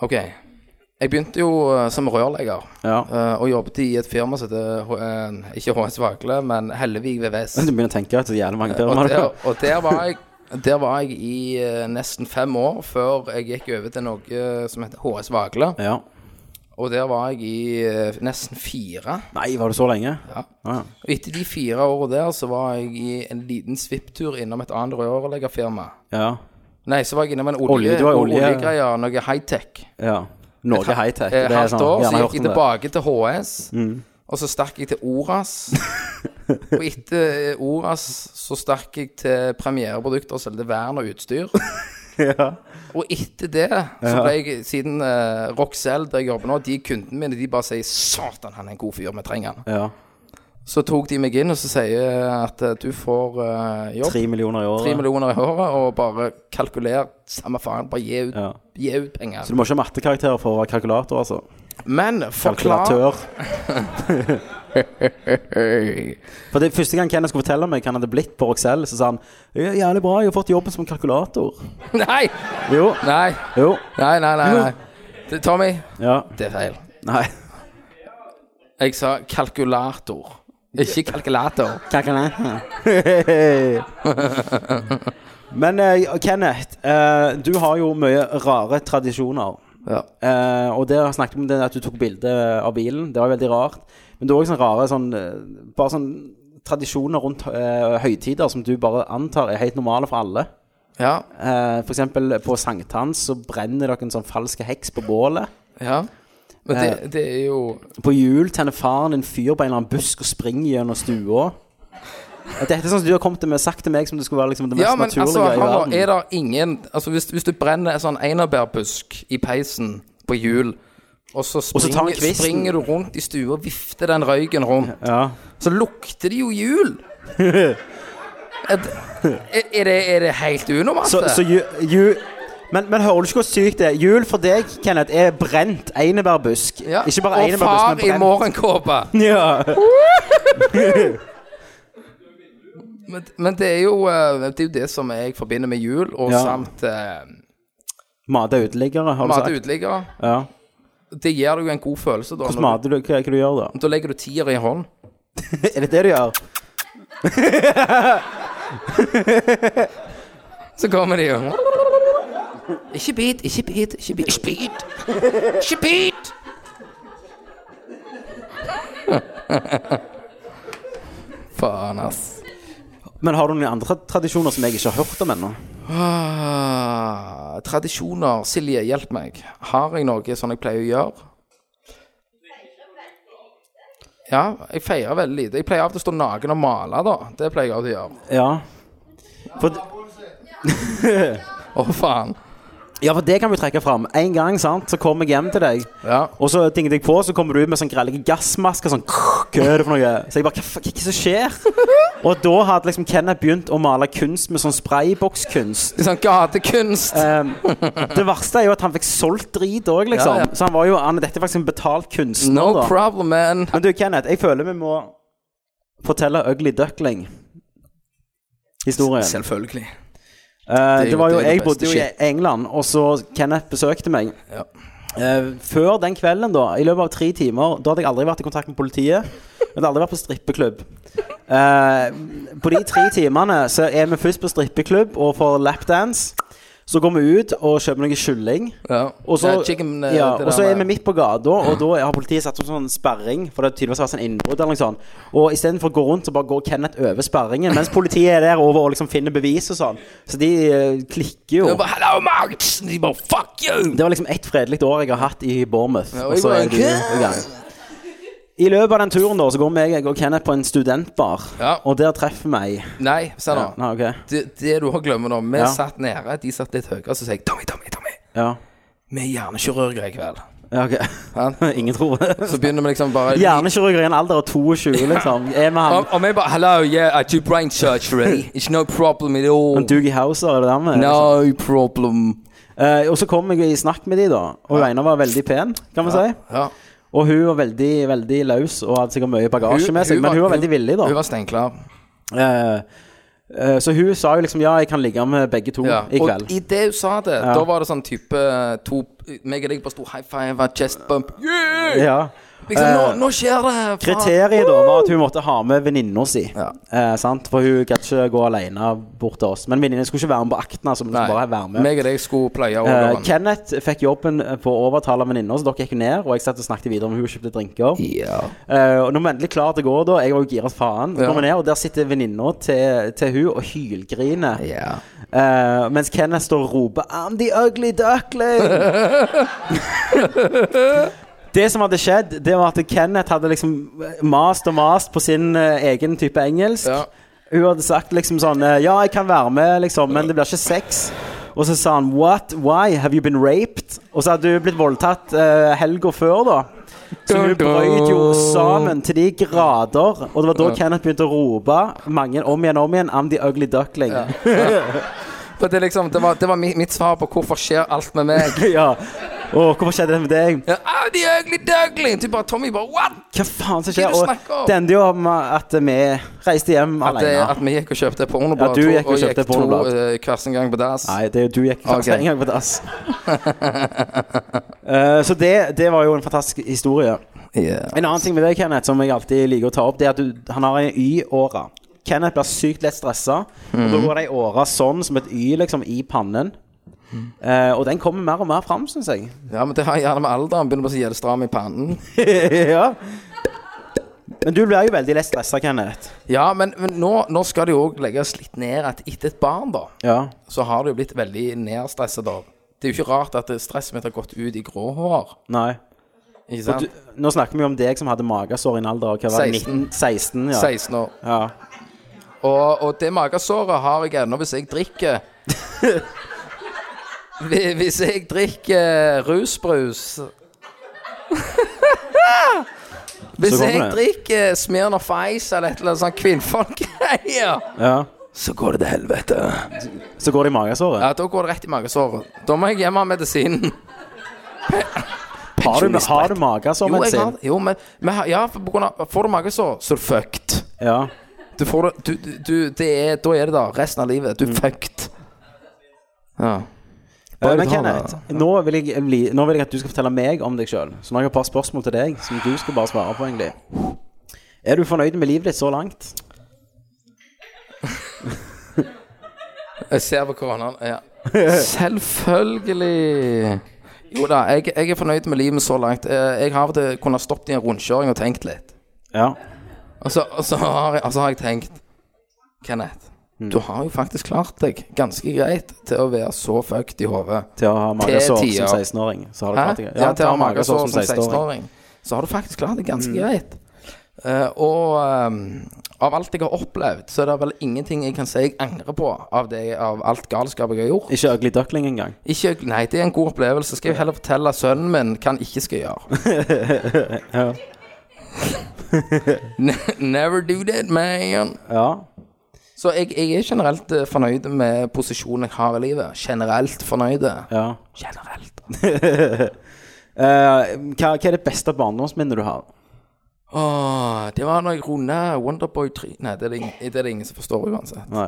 Speaker 6: Ok. Jeg begynte jo eh, som rørlegger,
Speaker 4: Ja. <laughs>
Speaker 6: eh, og jobbet i et firma som heter H- eh, Ikke HS Vagle, men Hellevik VVS.
Speaker 4: Du begynner å tenke at <laughs> det er jævlig mange
Speaker 6: Og
Speaker 4: firmaer.
Speaker 6: der, og der var jeg der var jeg i eh, nesten fem år før jeg gikk over til noe eh, som heter HS Vagle.
Speaker 4: <laughs> Ja.
Speaker 6: Og der var jeg i eh, nesten fire.
Speaker 4: Nei, var det så lenge?
Speaker 6: Ja.
Speaker 4: Ja.
Speaker 6: Og etter de fire årene der, så var jeg i en liten svipptur innom et annet rørleggerfirma.
Speaker 4: ja.
Speaker 6: Nei, så var jeg innom en
Speaker 4: Olje,
Speaker 6: olje,
Speaker 4: det var olje.
Speaker 6: oljegreier, noe high-tech.
Speaker 4: ja. Norge high-tech.
Speaker 6: Eh,
Speaker 4: det er
Speaker 6: halvt
Speaker 4: sånn,
Speaker 6: år,
Speaker 4: gjerne
Speaker 6: så
Speaker 4: hørt
Speaker 6: gikk jeg
Speaker 4: om det. Mm.
Speaker 6: tilbake til HS, og så stakk jeg til Oras.
Speaker 4: <laughs>
Speaker 6: og etter eh, Oras så stakk jeg til premiereprodukter og solgte vern og utstyr.
Speaker 4: <laughs>
Speaker 6: Og etter det så ble jeg, siden eh, Roxel, der jeg jobber nå, de kundene mine, de bare sier 'Satan, han er en god fyr, vi trenger han'.
Speaker 4: Ja.
Speaker 6: Så tok de meg inn og så sier at eh, du får eh, jobb.
Speaker 4: Tre millioner i året.
Speaker 6: Tre millioner i håret, og bare kalkuler samme faen. Bare gi ut,
Speaker 4: Ja.
Speaker 6: gi ut penger.
Speaker 4: Så du må ikke ha mattekarakterer for å være kalkulator, altså?
Speaker 6: Men forklar
Speaker 4: Kalkulatør. For det Første gang Kenneth skulle fortelle meg hva han hadde blitt på Roxelle, så sa han «Ja, 'Jævlig bra, jeg har fått jobben som kalkulator'.
Speaker 6: <laughs> Nei!
Speaker 4: Jo.
Speaker 6: Nei,
Speaker 4: Jo.
Speaker 6: nei, nei. nei, nei. Det, Tommy,
Speaker 4: Ja.
Speaker 6: det er feil.
Speaker 4: Nei.
Speaker 6: Jeg sa kalkulator. Ikke kalkulator.
Speaker 4: Kalkulator. <laughs> Men eh, Kenneth, eh, du har jo mye rare tradisjoner.
Speaker 6: Ja.
Speaker 4: Eh, og der snakket vi om det at du tok bilde av bilen. Det var jo veldig rart. Men det er òg sånne rare sånn, eh, bare sånn tradisjoner rundt eh, høytider som du bare antar er helt normale for alle.
Speaker 6: Ja.
Speaker 4: Eh, for eksempel på sankthans så brenner dere en sånn falsk heks på bålet.
Speaker 6: ja. Men
Speaker 4: Eh.
Speaker 6: det, det er jo
Speaker 4: På jul tenner faren din fyr på en eller annen busk og springer gjennom stua. Dette er sånn som du har kommet med, sagt til meg som det skulle være liksom det mest
Speaker 6: Ja, men
Speaker 4: naturlige
Speaker 6: altså,
Speaker 4: i
Speaker 6: Halvor,
Speaker 4: verden.
Speaker 6: er det ingen Altså, hvis, hvis du brenner en sånn einebærbusk i peisen på jul, og så
Speaker 4: så tar han
Speaker 6: springer,
Speaker 4: kvisten.
Speaker 6: springer du rundt i stua og vifter den røyken rundt,
Speaker 4: Ja.
Speaker 6: så lukter det jo jul!
Speaker 4: <laughs>
Speaker 6: Er, er, er, det, er det helt unormalt?
Speaker 4: Så, så
Speaker 6: det?
Speaker 4: ju, ju, men, men hører du ikke hvor sykt det er? Jul for deg, Kenneth, er brent einebærbusk.
Speaker 6: Ja.
Speaker 4: Ikke bare
Speaker 6: og far
Speaker 4: einebærbusk,
Speaker 6: i
Speaker 4: men brent.
Speaker 6: morgenkåpe!
Speaker 4: <laughs> Ja.
Speaker 6: Men, men det, er jo, eh, det er jo det som jeg forbinder med jul, og
Speaker 4: Ja.
Speaker 6: samt eh,
Speaker 4: Mate uteliggere, har du
Speaker 6: mat
Speaker 4: sagt.
Speaker 6: uteliggere.
Speaker 4: Ja.
Speaker 6: Det gir deg jo en god følelse. Da,
Speaker 4: Hvordan
Speaker 6: når
Speaker 4: mater du? Hva, hva du gjør
Speaker 6: <laughs>
Speaker 4: du da?
Speaker 6: du, da legger du tier i hånd.
Speaker 4: Er det det du gjør?
Speaker 6: Så kommer de jo Ikke bit, ikke bit, ikke bit. Ikke bit! Ikke bit! <laughs> Faen, ass.
Speaker 4: Men har du noen andre tra- tradisjoner som jeg ikke har hørt om ennå?
Speaker 6: Ah, tradisjoner. Silje, hjelp meg. Har jeg noe sånn jeg pleier å gjøre? Ja, jeg feirer veldig lite. Jeg pleier av og til å stå naken og male, da. Det pleier jeg av og til å gjøre.
Speaker 4: Ja. For,
Speaker 6: Å, faen.
Speaker 4: ja, for det kan vi trekke fram. En gang sant, så kom jeg hjem til deg,
Speaker 6: Ja.
Speaker 4: og så dinget jeg på, så kommer du ut med sånn grelle gassmasker. Sånn, hva er det for noe? Så jeg bare, hva faen, hva er det som skjer?
Speaker 6: <laughs>
Speaker 4: Og da hadde liksom Kenneth begynt å male kunst med sånn spraybokskunst.
Speaker 6: Litt sånn gatekunst.
Speaker 4: Ehm, det verste er jo at han fikk solgt drit òg, liksom.
Speaker 6: Ja, ja.
Speaker 4: Så han var jo han, Dette er faktisk en betalt kunstner.
Speaker 6: No
Speaker 4: da.
Speaker 6: problem, man.
Speaker 4: Men du, Kenneth, jeg føler vi må fortelle Ugly Duckling. Historien.
Speaker 6: Selvfølgelig.
Speaker 4: Eh, det,
Speaker 6: jo-
Speaker 4: var jo,
Speaker 6: det er det
Speaker 4: Jeg
Speaker 6: beste
Speaker 4: bodde jo i
Speaker 6: shit.
Speaker 4: England, og så Kenneth besøkte meg.
Speaker 6: Ja.
Speaker 4: Eh, før den kvelden, da, i løpet av tre timer, da hadde jeg aldri vært i kontakt med politiet. Jeg hadde aldri vært på strippeklubb. Eh, på de tre timene så er vi først på strippeklubb og får lapdance. Så går vi ut og kjøper noe kylling.
Speaker 6: Ja.
Speaker 4: Og så,
Speaker 6: Ja, chicken, eh,
Speaker 4: ja,
Speaker 6: det
Speaker 4: og så er
Speaker 6: der
Speaker 4: vi
Speaker 6: med-
Speaker 4: midt på gata, og da har politiet satt opp sånn sperring. For det har tydeligvis vært sånn innbrudd eller noe sånt. Og istedenfor å gå rundt, så bare går Kenneth over sperringen. Mens politiet er der over og liksom finner bevis og sånn. Så de eh, klikker jo.
Speaker 6: Jeg bare, Hello, Max! De bare Fuck you!
Speaker 4: Det var liksom ett fredelig år jeg har hatt i Bournemouth.
Speaker 6: Ja,
Speaker 4: og
Speaker 6: og jeg
Speaker 4: så
Speaker 6: bare,
Speaker 4: er de
Speaker 6: «Hva?»
Speaker 4: i gang. I løpet av den turen da, så går vi, jeg og Kenneth på en studentbar,
Speaker 6: Ja.
Speaker 4: og der treffer vi ei.
Speaker 6: Nei, se nå.
Speaker 4: Ja, nei, ok.
Speaker 6: Det, det du har glemt nå Vi
Speaker 4: Ja.
Speaker 6: satt nede, de satt litt høyere, så sier jeg Tommy, Tommy, Tommy.
Speaker 4: Ja.
Speaker 6: Vi er hjernekirurger i kveld.
Speaker 4: ja, ok.
Speaker 6: Ja.
Speaker 4: <laughs> Ingen tror det.
Speaker 6: Så begynner vi
Speaker 4: <laughs>
Speaker 6: liksom bare
Speaker 4: Hjernekirurger i en alder av 22, liksom. Er vi han
Speaker 6: Og og vi bare Hello, yeah, I do
Speaker 4: <laughs>
Speaker 6: brain surgery. It's no problem at all.
Speaker 4: han Doogie Howser, er liksom? det der med?
Speaker 6: No problem.
Speaker 4: Eh, og så kom jeg i snakk med de da, og hun ene var veldig pen, kan man si.
Speaker 6: Ja.
Speaker 4: Og hun var veldig, veldig løs og hadde sikkert mye bagasje
Speaker 6: Hun-
Speaker 4: med seg,
Speaker 6: hun var-
Speaker 4: men hun var veldig villig, da.
Speaker 6: Hun var steinklar.
Speaker 4: Eh, eh, så hun sa jo liksom ja, jeg kan ligge med begge to
Speaker 6: Ja.
Speaker 4: Oh, i kveld.
Speaker 6: Og idet hun sa det, da var det sånn type to Meg og deg bare sto high five, chest bump. Yeah!
Speaker 4: Ja.
Speaker 6: Liksom,
Speaker 4: Eh,
Speaker 6: nå, nå skjer det! faen.
Speaker 4: Kriteriet da var at hun måtte ha med venninna si.
Speaker 6: Ja.
Speaker 4: Eh, sant? For hun kan ikke gå alene bort til oss. Men venninnen skulle ikke være med på aktene. Så hun skulle bare være med.
Speaker 6: Meg og deg skulle pleie
Speaker 4: Eh,
Speaker 6: årene.
Speaker 4: Kenneth fikk jobben på å overtale venninna, så dere gikk jo ned. Og jeg satt og snakket videre om hun kjøpte drinker.
Speaker 6: Ja.
Speaker 4: Eh, og når vi endelig klar til å gå, da Jeg var jo gira som faen. Så
Speaker 6: Ja.
Speaker 4: kommer vi ned, og der sitter venninna til, til hun og hylgriner.
Speaker 6: Ja.
Speaker 4: Eh, mens Kenneth står og roper 'I'm the ugly duckling'. det som hadde skjedd, det var at Kenneth hadde liksom mast og mast på sin eh, egen type engelsk.
Speaker 6: Ja.
Speaker 4: Hun hadde sagt liksom sånn eh, 'Ja, jeg kan være med, liksom, men det blir ikke sex'. Og så sa han 'What? Why? Have you been raped?' Og så hadde hun blitt voldtatt uh, helga før, da. Så hun brøyt jo sammen til de grader. Og det var da Kenneth begynte å rope mange om igjen om igjen 'I'm the ugly duckling'.
Speaker 6: For det, er liksom, det, var, det var mi- mitt svar på hvorfor skjer alt med
Speaker 4: <laughs>
Speaker 6: meg.
Speaker 4: ja. Åh, hvorfor skjedde det med deg?
Speaker 6: Ja, ah, de er ugly duckling! Du bare, Tommy bare, what?
Speaker 4: Hva faen som
Speaker 6: Hva
Speaker 4: skjer?
Speaker 6: er det du snakker om?
Speaker 4: Og det endte jo om at vi reiste hjem
Speaker 6: At, det,
Speaker 4: alene.
Speaker 6: at vi gikk og kjøpte pornoblad
Speaker 4: Ja, du gikk og
Speaker 6: to-
Speaker 4: kjøpte pornoblad.
Speaker 6: to eh, hver sin gang på dass.
Speaker 4: Nei, det er jo du gikk først
Speaker 6: Ok.
Speaker 4: en gang på
Speaker 6: <laughs>
Speaker 4: dass. Eh, så det, det var jo en fantastisk historie.
Speaker 6: Yeah.
Speaker 4: En annen ting med deg, Kenneth, som jeg alltid liker å ta opp, det er at du, han har en Y-åra. Kenneth blir sykt lett stressa. Og da
Speaker 6: Mhm.
Speaker 4: går de åra sånn, som et Y, liksom, i pannen. Eh, og den kommer mer og mer fram, syns jeg. <laughs>
Speaker 6: Ja, men det har jeg gjerne med alderen. Begynner å bli så jævlig stram i pannen.
Speaker 4: ja. Men du blir jo veldig lett stressa, Kenneth.
Speaker 6: Ja, men, men nå, nå skal det jo òg legges litt ned at etter et barn, da,
Speaker 4: Ja.
Speaker 6: så har det jo blitt veldig nedstresset av. Det er jo ikke rart at stresset mitt har gått ut i grå hår.
Speaker 4: Nei. Du,
Speaker 6: Ikke sant?
Speaker 4: nå snakker vi om deg som hadde magesår i en alder av hva var det,
Speaker 6: 16.
Speaker 4: 19, 16 ja.
Speaker 6: 16 år.
Speaker 4: ja.
Speaker 6: Og, og det magesåret har jeg ennå hvis jeg
Speaker 4: <laughs>
Speaker 6: drikker Hvi- Hvis jeg drikker eh,
Speaker 4: <laughs>
Speaker 6: rusbrus Hvis
Speaker 4: kommer
Speaker 6: jeg
Speaker 4: det.
Speaker 6: drikker Smirnoff Ice eller et eller annet sånt kvinnfolkgreier,
Speaker 4: ja.
Speaker 6: så går det til helvete.
Speaker 4: Så går det i magesåret.
Speaker 6: Ja, Da går det rett i magesåret. Da må jeg hjem av medisinen.
Speaker 4: har du, har du magesår,
Speaker 6: Jo, jeg har
Speaker 4: medisin?
Speaker 6: Jo, men, men ja, for på grunn av, får du magesår, så er du fucked.
Speaker 4: Ja.
Speaker 6: Du får det du, du, du, det er, Da er det da resten av
Speaker 4: Mm.
Speaker 6: livet. Du er fucked. Ja.
Speaker 4: Eh, Men
Speaker 6: du har
Speaker 4: Kenneth, nå vil, jeg, bli- nå vil jeg at du skal fortelle meg om deg sjøl. Så nå har jeg et par spørsmål til deg som du skal bare svare på, egentlig. Er du fornøyd med livet ditt så langt?
Speaker 6: Jeg ser på koronaen. Ja. <laughs> Selvfølgelig. Jo da, jeg, jeg er fornøyd med livet så langt. Eh, Jeg har av og til kunnet stoppet i en rundkjøring og tenkt litt.
Speaker 4: Ja.
Speaker 6: Og så, og så, har, jeg, og så har jeg tenkt Kenneth,
Speaker 4: Mm.
Speaker 6: du har jo faktisk klart deg ganske greit til å være så fucked i hodet.
Speaker 4: Til å ha magesår
Speaker 6: tider.
Speaker 4: som 16-åring. Så har du
Speaker 6: Hæ?
Speaker 4: klart det.
Speaker 6: Ja, til å ha magesår som 16-åring. Så har du faktisk klart det
Speaker 4: Mm.
Speaker 6: ganske greit. Eh, og ehm, av alt jeg har opplevd, så er det vel ingenting jeg kan si jeg angrer på av, det, av alt galskapet jeg har gjort.
Speaker 4: Ikke Ugly Duckling engang.
Speaker 6: Ikke, nei, det er en god opplevelse. Skal jeg heller fortelle sønnen min hva han ikke
Speaker 4: <laughs>
Speaker 6: skal gjøre. Ne- Never do that, man.
Speaker 4: Ja.
Speaker 6: Så jeg, jeg er generelt eh, fornøyd med posisjonen jeg har i livet. Generelt fornøyd.
Speaker 4: ja.
Speaker 6: Generelt.
Speaker 4: <laughs> Eh, hva, hva er det beste barndomsminnet du har?
Speaker 6: Åh, det var når jeg runda Wonderboy 3 Nei, det er det, ingen, det er det ingen som forstår uansett.
Speaker 4: Nei.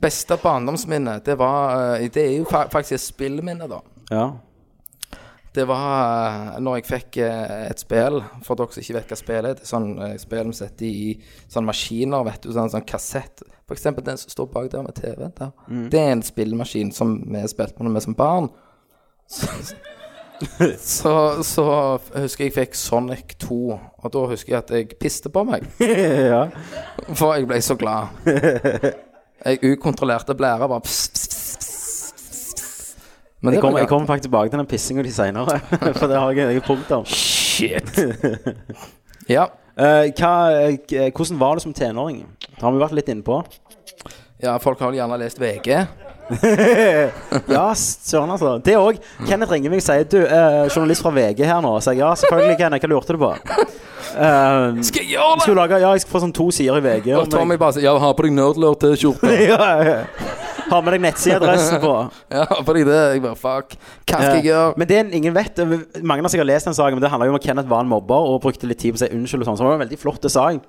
Speaker 6: Beste barndomsminne, det var eh, Det er jo fa faktisk et spillminne, da.
Speaker 4: Ja.
Speaker 6: Det var eh, når jeg fikk eh, et spill, for dere som ikke vet hva spill er. Det er sånn eh, spill vi setter i sånne maskiner, vet du. Sånn, sånn kassett. For eksempel den som står bak der med TV. Der. Det er en spillemaskin som vi spilte på når vi var som barn. <laughs> Så, så, så husker jeg jeg fikk Sonic 2, og da husker jeg at jeg piste på meg. For jeg ble så
Speaker 4: <laughs>
Speaker 6: glad. Jeg ukontrollerte blæra bare pss, pss, pss, pss, pss, pss. Men
Speaker 4: Jeg
Speaker 6: det var
Speaker 4: kommer
Speaker 6: galt.
Speaker 4: kom faktisk tilbake til den pissinga di seinere, <laughs> for det har jeg et eget punkt om.
Speaker 6: Ja.
Speaker 4: Eh, hva, eh, hvordan var det som tenåring? Det har vi vært litt innpå.
Speaker 6: Ja, folk har vel gjerne lest VG.
Speaker 4: Ja, s- søren, altså. Det òg. Kenneth ringer meg og sier du, eh, journalist fra VG her nå. Så jeg ja, selvfølgelig, Kenneth. Hva lurte du på? Eh,
Speaker 6: Skal jeg gjøre
Speaker 4: skulle lage, ja, jeg skal få sånn to sider i VG.
Speaker 6: Og
Speaker 4: om
Speaker 6: Tommy
Speaker 4: jeg-
Speaker 6: bare sier 'Ja, har på deg nerdlord til
Speaker 4: <laughs>
Speaker 6: skjorte'.
Speaker 4: ja, ja. Har med deg nettsideadressen på.
Speaker 6: ja, har på deg det. Jeg bare 'fuck'. Hva skal jeg
Speaker 4: Eh,
Speaker 6: gjøre?
Speaker 4: Men det en- ingen vet eh, Mange har sikkert lest den saken, men det handler jo om at Kenneth var en mobber og brukte litt tid på å si unnskyld. og sånn Så det var en veldig flott sak.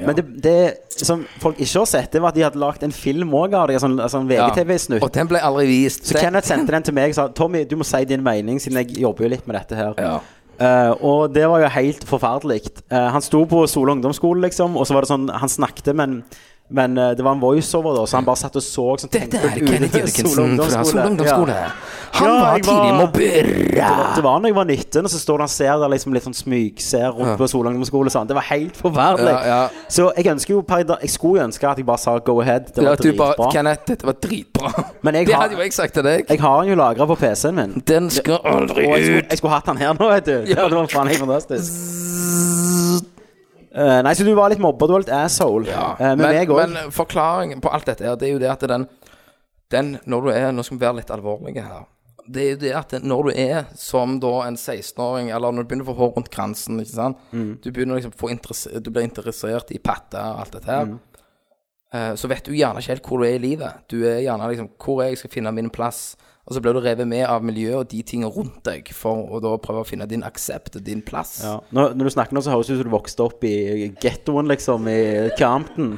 Speaker 4: Men det, det som folk ikke har sett, Det var at de hadde lagd en film òg av det. Sånn, sånn
Speaker 6: Ja.
Speaker 4: VGTV-snutt.
Speaker 6: Og den ble aldri vist.
Speaker 4: Så
Speaker 6: Den-
Speaker 4: Kenneth sendte den til meg og sa Tommy, du må si din mening, siden jeg jobber jo litt med dette her.
Speaker 6: Ja.
Speaker 4: Eh, og det var jo helt forferdelig. Eh, han sto på Sola ungdomsskole, liksom, og så var det sånn Han snakket, men men eh, det var en voiceover, da, så han bare satt og så. Sånn,
Speaker 6: Dette er
Speaker 4: tenkte ut
Speaker 6: Kenneth
Speaker 4: <laughs>
Speaker 6: Jørgensen
Speaker 4: Sola
Speaker 6: fra Sol
Speaker 4: ungdomsskole.
Speaker 6: ungdomsskole.
Speaker 4: Ja.
Speaker 6: Han
Speaker 4: Ja,
Speaker 6: var
Speaker 4: jeg var-
Speaker 6: tidlig mobber.
Speaker 4: Det, var, det var når jeg var 19, og så står det han ser der liksom litt sånn smyg, ser rundt på Sola ungdomsskole. Sånn. Det var helt forferdelig.
Speaker 6: Ja, ja.
Speaker 4: Så jeg ønsker jo per i dag Jeg skulle jo ønske at jeg bare sa go ahead. Det
Speaker 6: Ja,
Speaker 4: var
Speaker 6: at du bare
Speaker 4: dritbra.
Speaker 6: 'Kenneth, dette var dritbra'.
Speaker 4: Men jeg
Speaker 6: det
Speaker 4: har-
Speaker 6: hadde jo jeg sagt til deg.
Speaker 4: Jeg har den jo lagra på PC-en min.
Speaker 6: Den skal aldri
Speaker 4: Og jeg skulle,
Speaker 6: ut.
Speaker 4: jeg skulle hatt han her nå, vet du. <laughs> Det
Speaker 6: Ja.
Speaker 4: var faen helt fantastisk. Eh, nei, så du var litt mobba. Du var litt asshole.
Speaker 6: Ja.
Speaker 4: Eh, med
Speaker 6: men,
Speaker 4: meg òg.
Speaker 6: men forklaringen på alt dette her, det er jo det at den, den Når du er Nå skal vi være litt alvorlige her. Det er jo det at når du er som da en 16-åring, eller når du begynner å få hår rundt kransen ikke sant?
Speaker 4: Mm.
Speaker 6: Du begynner liksom å få interesse- Du blir interessert i patter og alt dette
Speaker 4: Mm.
Speaker 6: her. eh, Så vet du gjerne ikke helt hvor du er i livet. Du er gjerne liksom Hvor er jeg skal finne min plass? Og så blir du revet med av miljøet og de tingene rundt deg, for å da prøve å finne din aksept og din plass.
Speaker 4: Ja. Når, når du snakker nå, så høres det ut som du vokste opp i gettoen, liksom. I Campton.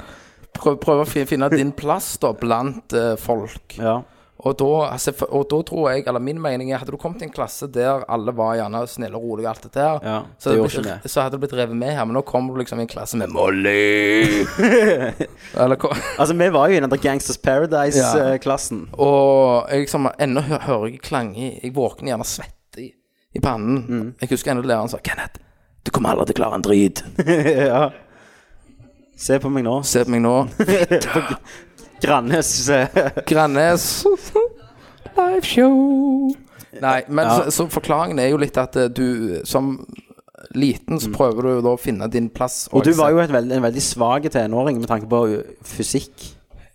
Speaker 6: Prøv, prøve å fi- finne din plass da blant eh, folk.
Speaker 4: Ja.
Speaker 6: Og da, altså, for- og da tror jeg, eller min mening er, hadde du kommet i en klasse der alle var gjerne snille og rolige og alt dette her,
Speaker 4: Ja,
Speaker 6: så,
Speaker 4: det
Speaker 6: hadde
Speaker 4: gjorde
Speaker 6: du
Speaker 4: ikke
Speaker 6: blitt, så hadde du blitt revet med her. Men nå kommer du liksom i en klasse med
Speaker 4: <laughs>
Speaker 6: Molly! eller hva?
Speaker 4: Altså, vi var jo i den der Gangsters eh,
Speaker 6: Ja.
Speaker 4: Paradise-klassen.
Speaker 6: Og jeg liksom ennå hø hører jeg klang i Jeg våkner gjerne svett i, i pannen.
Speaker 4: Mm.
Speaker 6: Jeg husker ennå læreren sa Kenneth, du kommer aldri til å klare en drit.
Speaker 4: <laughs> ja. Se på meg <laughs> nå.
Speaker 6: Se på meg nå.
Speaker 4: Grannes eh,
Speaker 6: Grannes. <laughs> Live show. Nei, men så, så forklaringen er jo litt at eh, du som liten så prøver du jo da å finne din plass.
Speaker 4: Mm. Og du var jo et veld, en veldig svak tenåring med tanke på uh, fysikk.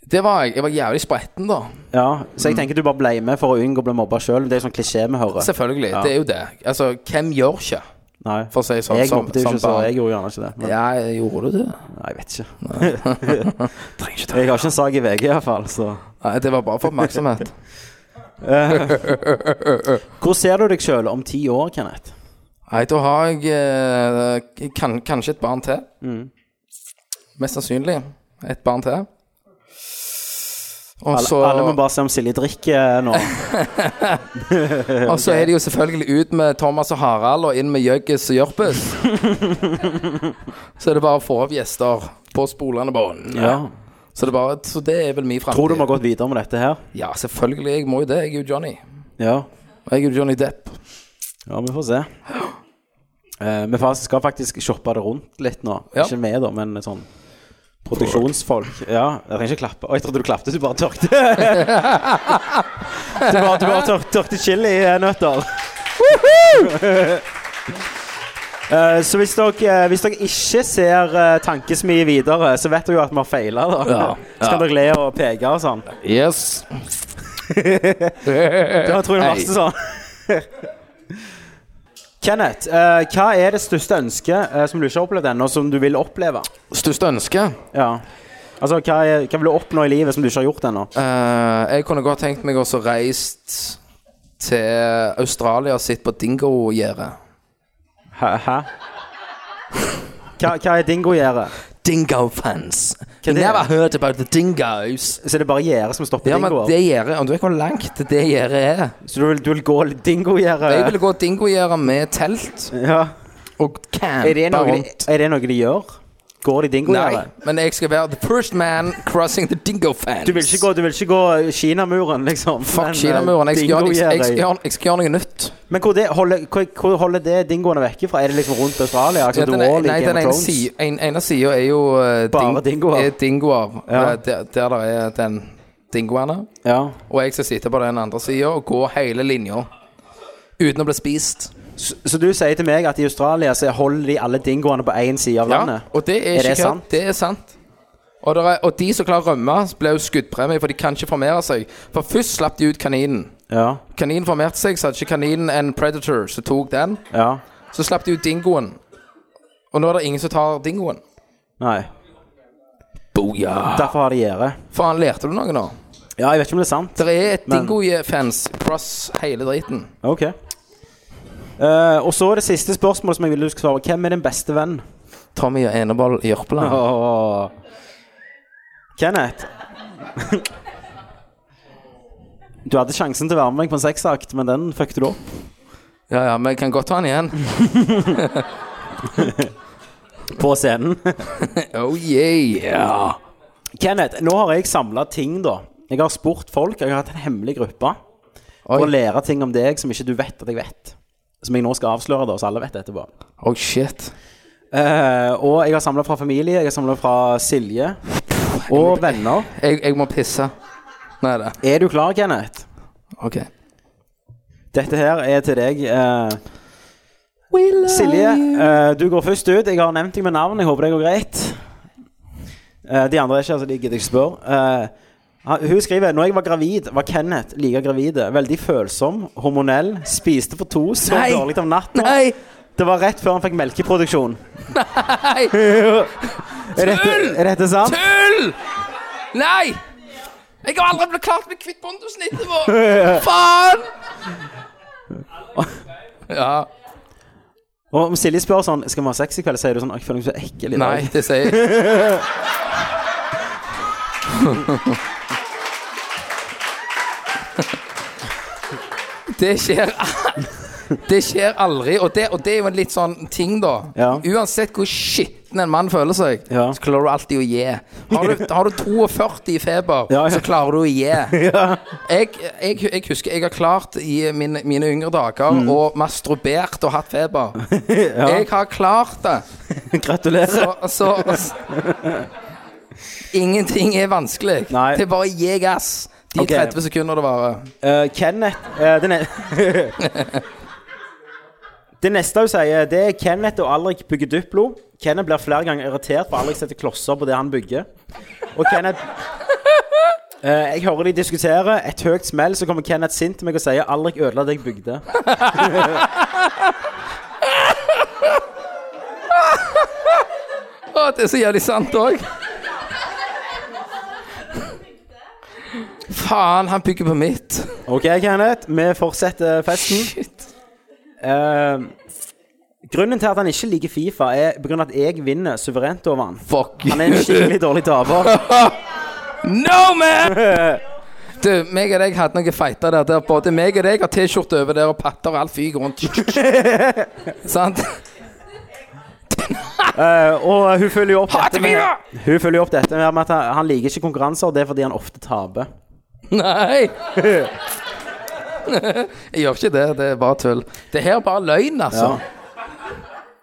Speaker 6: Det var jeg. Jeg var jævlig spretten, da.
Speaker 4: Ja, Mm. Så jeg tenker du bare ble med for å unngå å bli mobba sjøl. Det er jo sånn klisjé vi hører.
Speaker 6: Selvfølgelig. Det er jo det. Altså, hvem gjør ikke?
Speaker 4: Nei.
Speaker 6: For å si det sånn.
Speaker 4: Jeg
Speaker 6: som-
Speaker 4: mobbet jo
Speaker 6: som
Speaker 4: ikke, så
Speaker 6: barn.
Speaker 4: jeg gjorde gjerne ikke det. Men,
Speaker 6: Ja, gjorde du det?
Speaker 4: Nei, jeg vet ikke. <laughs>
Speaker 6: Trenger ikke ta
Speaker 4: Jeg har ikke en sak i VG iallfall, så
Speaker 6: Nei, det var bare
Speaker 4: <laughs>
Speaker 6: for oppmerksomhet.
Speaker 4: Hvor ser du deg sjøl om ti år, Kenneth?
Speaker 6: Nei, da har jeg eh, kan, kanskje et barn til.
Speaker 4: Mm.
Speaker 6: Mest sannsynlig et barn til. Og
Speaker 4: Alle,
Speaker 6: så
Speaker 4: alle må bare se om Silje drikker eh, nå.
Speaker 6: <laughs> og så er det jo selvfølgelig ut med Thomas og Harald, og inn med Jøggis og <laughs> Jørpes. så er det bare å få opp gjester på spolene bånd.
Speaker 4: Ja.
Speaker 6: Så, det er bare, så det er vel min framtid.
Speaker 4: Tror du vi har gått videre med dette her?
Speaker 6: Ja, selvfølgelig. Jeg må jo det. Jeg er jo Johnny.
Speaker 4: Ja.
Speaker 6: Jeg er jo Johnny Depp.
Speaker 4: Ja, vi får se. Eh, vi fa- skal faktisk shoppe det rundt litt nå.
Speaker 6: Ja.
Speaker 4: Ikke vi, da, men sånn produksjonsfolk. Ja, jeg trenger ikke klappe. Å, jeg trodde du klappte, du bare tørkte. <laughs> du bare, du bare tør, tørkte chilinøtter. Eh, Så hvis dere, eh, hvis dere ikke ser eh, tankesmie videre, så vet dere jo at vi har feila. da.
Speaker 6: Ja,
Speaker 4: Så kan
Speaker 6: ja.
Speaker 4: dere le og peke og sånn.
Speaker 6: Yes.
Speaker 4: Jeg tror det er
Speaker 6: Hei.
Speaker 4: masse sånn. <laughs> Kenneth, eh, hva er det største ønsket eh, som du ikke har opplevd ennå, som du vil oppleve?
Speaker 6: Største ønske?
Speaker 4: Ja. Altså, hva, er, hva vil du oppnå i livet som du ikke har gjort ennå?
Speaker 6: Eh, jeg kunne godt tenkt meg også reist til Australia og sett på dingogjerdet.
Speaker 4: Hæ? Hæ? Hva, hva er dingogjerdet?
Speaker 6: Dingo fans.
Speaker 4: Hva er det?
Speaker 6: Never heard about the dingoes.
Speaker 4: Så er det bare gjerdet som stopper
Speaker 6: Ja, men
Speaker 4: dingoer?
Speaker 6: det gjerdet Om du vet hvor langt det gjerdet er
Speaker 4: Så du vil, du vil gå litt dingogjerdet?
Speaker 6: Jeg ville gå dingogjerdet med telt
Speaker 4: Ja.
Speaker 6: og
Speaker 4: Eh. Er det,
Speaker 6: campe
Speaker 4: noe de,
Speaker 6: rundt.
Speaker 4: er det noe de gjør? Går de
Speaker 6: Nei,
Speaker 4: dingogjerdet?
Speaker 6: men jeg skal være the first man crossing the dingo fans.
Speaker 4: Du vil ikke gå, du vil ikke gå Kinamuren, liksom? men,
Speaker 6: Fuck
Speaker 4: eh,
Speaker 6: Kinamuren. Jeg, skal gjøre- jeg, jeg, skal
Speaker 4: dingogjerdet-
Speaker 6: gjøre- jeg skal gjøre noe nytt.
Speaker 4: Men hvor, det holder, hvor, hvor holder det dingoene vekke fra? Er det liksom rundt Australia? Altså,
Speaker 6: Ja, den,
Speaker 4: The Wall i
Speaker 6: nei,
Speaker 4: Game
Speaker 6: den
Speaker 4: of
Speaker 6: ene
Speaker 4: Thrones?
Speaker 6: sida en, ene siden er jo eh,
Speaker 4: Bare dingoer.
Speaker 6: Er dingoer
Speaker 4: Ja.
Speaker 6: eh, der, der det er den dingoene.
Speaker 4: Ja.
Speaker 6: Og jeg skal sitte på den andre sida og gå hele linja. Uten å bli spist.
Speaker 4: Så, så du sier til meg at i Australia så holder de alle dingoene på én side av
Speaker 6: Ja,
Speaker 4: landet?
Speaker 6: og det er,
Speaker 4: Er det
Speaker 6: ikke kødd.
Speaker 4: sant?
Speaker 6: Det er sant. Og, der er, og de som klarer å rømme, blir jo skuddpremie, for de kan ikke formere seg. For først slapp de ut kaninen.
Speaker 4: Ja.
Speaker 6: Kaninen formerte seg, så hadde ikke kaninen en predator som tok den.
Speaker 4: ja.
Speaker 6: Så slapp de ut dingoen. Og nå er det ingen som tar dingoen.
Speaker 4: Nei.
Speaker 6: Booyah.
Speaker 4: Derfor har de gjerde.
Speaker 6: Faen, lærte du noe nå?
Speaker 4: Ja, jeg vet ikke om det er sant.
Speaker 6: Det er et
Speaker 4: Men-
Speaker 6: dingo-fans cross hele driten.
Speaker 4: Ok. Eh, og så det siste spørsmålet som jeg ville du skulle svare. Hvem er din beste venn?
Speaker 6: Tommy og Eneboll i Jørpeland.
Speaker 4: Åh. Kenneth. <laughs> Du hadde sjansen til å være med meg på en seksakt, men den fucket du opp.
Speaker 6: Ja, ja, men jeg kan godt ta han igjen.
Speaker 4: <laughs> På scenen.
Speaker 6: Oh yeah.
Speaker 4: Kenneth, nå har jeg samla ting, da. Jeg har spurt folk, og jeg har hatt en hemmelig gruppe. For å
Speaker 6: Oi,
Speaker 4: lære ting om deg som ikke du vet at jeg vet. Som jeg nå skal avsløre, da, så alle vet det etterpå.
Speaker 6: oh shit.
Speaker 4: Eh, og jeg har samla fra familie, jeg har samla fra Silje. Og venner.
Speaker 6: Jeg, jeg må pisse. Nei da.
Speaker 4: Er du klar, Kenneth?
Speaker 6: Ok.
Speaker 4: Dette her er til deg. eh, Silje, eh, du går først ut. Jeg har nevnt deg med navn. Jeg håper det går greit. Eh, de andre er ikke her, så de gidder jeg ikke spørre. Eh, han- hun skriver Når jeg var gravid, var Kenneth like gravid. Veldig følsom, hormonell, spiste for to, sov
Speaker 6: Nei.
Speaker 4: dårlig om natta.
Speaker 6: Nei!
Speaker 4: Det var rett før han fikk melkeproduksjon.
Speaker 6: <laughs> Nei!
Speaker 4: <laughs> Er dette, er dette sant?
Speaker 6: Tull! Nei! Jeg har aldri blitt klart med kvitt bondesnittet vårt! Faen! Ja.
Speaker 4: Og om Silje spør sånn Skal vi ha sex i kveld, sier du sånn «Å, Jeg føler meg så ekkel i dag.
Speaker 6: Nei, det sier jeg. <laughs> Det skjer <laughs> Det skjer aldri, og det, og det er jo en litt sånn ting, da.
Speaker 4: Ja.
Speaker 6: Uansett hvor skitten en mann føler seg,
Speaker 4: Ja.
Speaker 6: så klarer du alltid å gi. Har du, har du 42 i feber,
Speaker 4: Ja, ja.
Speaker 6: så klarer du å
Speaker 4: <laughs>
Speaker 6: gi. Jeg, jeg, jeg husker jeg har klart i mine, mine yngre dager
Speaker 4: Mm.
Speaker 6: å masturbert og hatt
Speaker 4: <laughs>
Speaker 6: feber. Jeg har klart det.
Speaker 4: <laughs> Gratulerer.
Speaker 6: Så, så, Ingenting er vanskelig.
Speaker 4: Nei.
Speaker 6: Det er bare å gi gass. De
Speaker 4: Ok.
Speaker 6: 30 sekunder det varer.
Speaker 4: Eh, Kenneth eh, det, ne <laughs> det neste hun sier, det er Kenneth og Alrik bygger Duplo. Kenneth blir flere ganger irritert, for Alrik setter klosser på det han bygger. Og Kenneth Eh, Jeg hører de diskutere. Et høyt smell, så kommer Kenneth sint til meg og sier 'Alrik ødela det jeg bygde'.
Speaker 6: Å, det er så jævlig sant òg. Faen, han bygger på mitt.
Speaker 4: OK, Kenneth, vi fortsetter festen.
Speaker 6: Shit.
Speaker 4: Eh, grunnen til at han ikke liker Fifa, er på grunn av at jeg vinner suverent over han.
Speaker 6: Fuck
Speaker 4: Han er en skikkelig dårlig taper.
Speaker 6: No, man! Du, meg og deg hadde noen fighter der. der både meg og deg har T-skjorte over der og patter og alt
Speaker 4: <laughs>
Speaker 6: fyker rundt. Sant?
Speaker 4: Eh, og hun følger jo opp
Speaker 6: Hat
Speaker 4: dette med,
Speaker 6: Fifa!
Speaker 4: hun følger jo opp dette med at han, han liker ikke konkurranser, og det er fordi han ofte taper.
Speaker 6: Nei! <laughs> Jeg gjør ikke det. Det er bare tull. Det her er bare løgn, altså.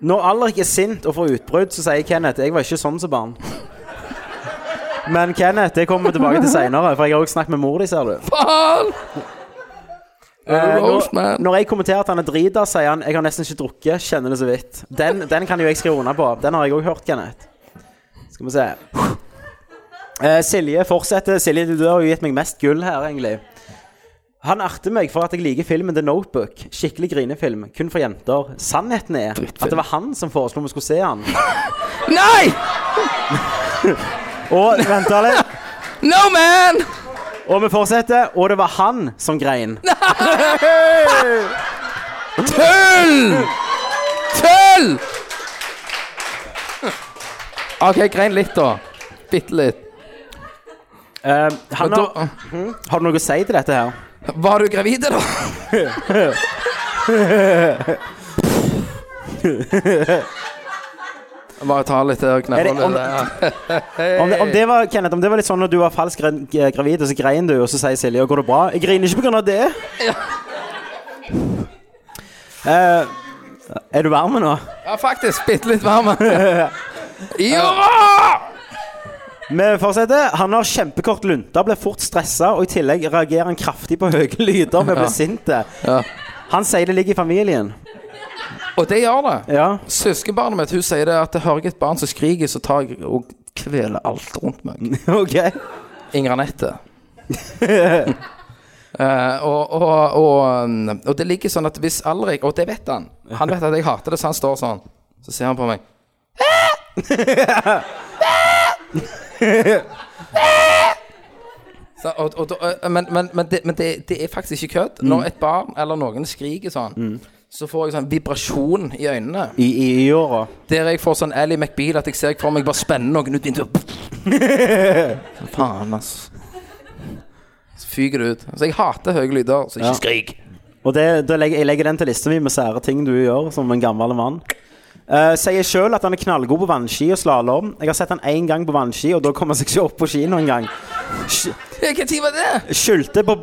Speaker 4: Når Alrik er sint og får utbrudd, så sier Kenneth 'Jeg var ikke sånn som barn'. Men Kenneth, det kommer vi tilbake til seinere, for jeg har også snakket med mor di, ser du.
Speaker 6: Faen!
Speaker 4: Eh,
Speaker 6: Roast,
Speaker 4: når,
Speaker 6: man.
Speaker 4: når jeg kommenterer at han er drita, sier han 'Jeg har nesten ikke drukket, kjenner det så vidt'. Den, den kan jo jeg skrive under på. Den har jeg òg hørt, Kenneth. Skal vi se. Eh, Silje fortsetter. Silje, du, du har jo gitt meg mest gull her, egentlig. Han erter meg for at jeg liker filmen The Notebook. Skikkelig grinefilm, kun for jenter. Sannheten er at det var han som foreslo vi skulle se han.
Speaker 6: Nei!
Speaker 4: Og vent da litt.
Speaker 6: No, man!
Speaker 4: Og vi fortsetter. Og det var han som grein.
Speaker 6: Tull! Tull! OK, grein litt, da. Bitte litt.
Speaker 4: Eh, han
Speaker 6: Men
Speaker 4: har,
Speaker 6: da,
Speaker 4: har du noe å si til dette her?
Speaker 6: var du gravid, da? Bare ta litt eh, der og
Speaker 4: Er det-
Speaker 6: knabbe
Speaker 4: om-
Speaker 6: litt. der.
Speaker 4: Om det, om det var, Kenneth, om det var litt sånn når du var falsk gra- g- gravid, og så grein du, og så sier Silje 'går det bra'? Jeg griner ikke på grunn av det. <laughs> Eh, er du varm nå?
Speaker 6: Ja, faktisk. Bitte litt varm. Ja!
Speaker 4: Vi fortsetter. Han har kjempekort lunte, ble fort stressa, og i tillegg reagerer han kraftig på høye lyder med å bli sint.
Speaker 6: Ja.
Speaker 4: Han sier det ligger i familien.
Speaker 6: Og det gjør det.
Speaker 4: Ja. <laughs>
Speaker 6: Søskenbarnet mitt hun sier det at hører jeg et barn som skriker, så tar jeg og kveler alt rundt meg.
Speaker 4: OK.
Speaker 6: Inger Anette. <laughs> Eh, og, og, og, um, og det ligger sånn at hvis Alrik Og det vet han. Han vet at jeg hater det, så han står sånn. Så ser han på meg. Så, og, og, da- men men, men, det, men det, det er faktisk ikke kødd. Når et barn eller noen skriker sånn, så får jeg sånn vibrasjon i øynene.
Speaker 4: I, i, i åra.
Speaker 6: Der jeg får sånn Ally McBeal at jeg ser for meg bare spenner noen
Speaker 4: <laughs>
Speaker 6: ut vinduet. Faen, ass. Så fyker det ut. Så jeg hater høye lyder, så ikke skrik.
Speaker 4: Og det, da legger, jeg legger den til lista mi med sære ting du gjør som en gammel mann. Eh, sier sjøl at han er knallgod på vannski og slalåm. Jeg har sett han én gang på vannski, og da kom han seg ikke opp på ski noen gang. Sk-
Speaker 6: <laughs> Hva tid var det?
Speaker 4: Skyldte på,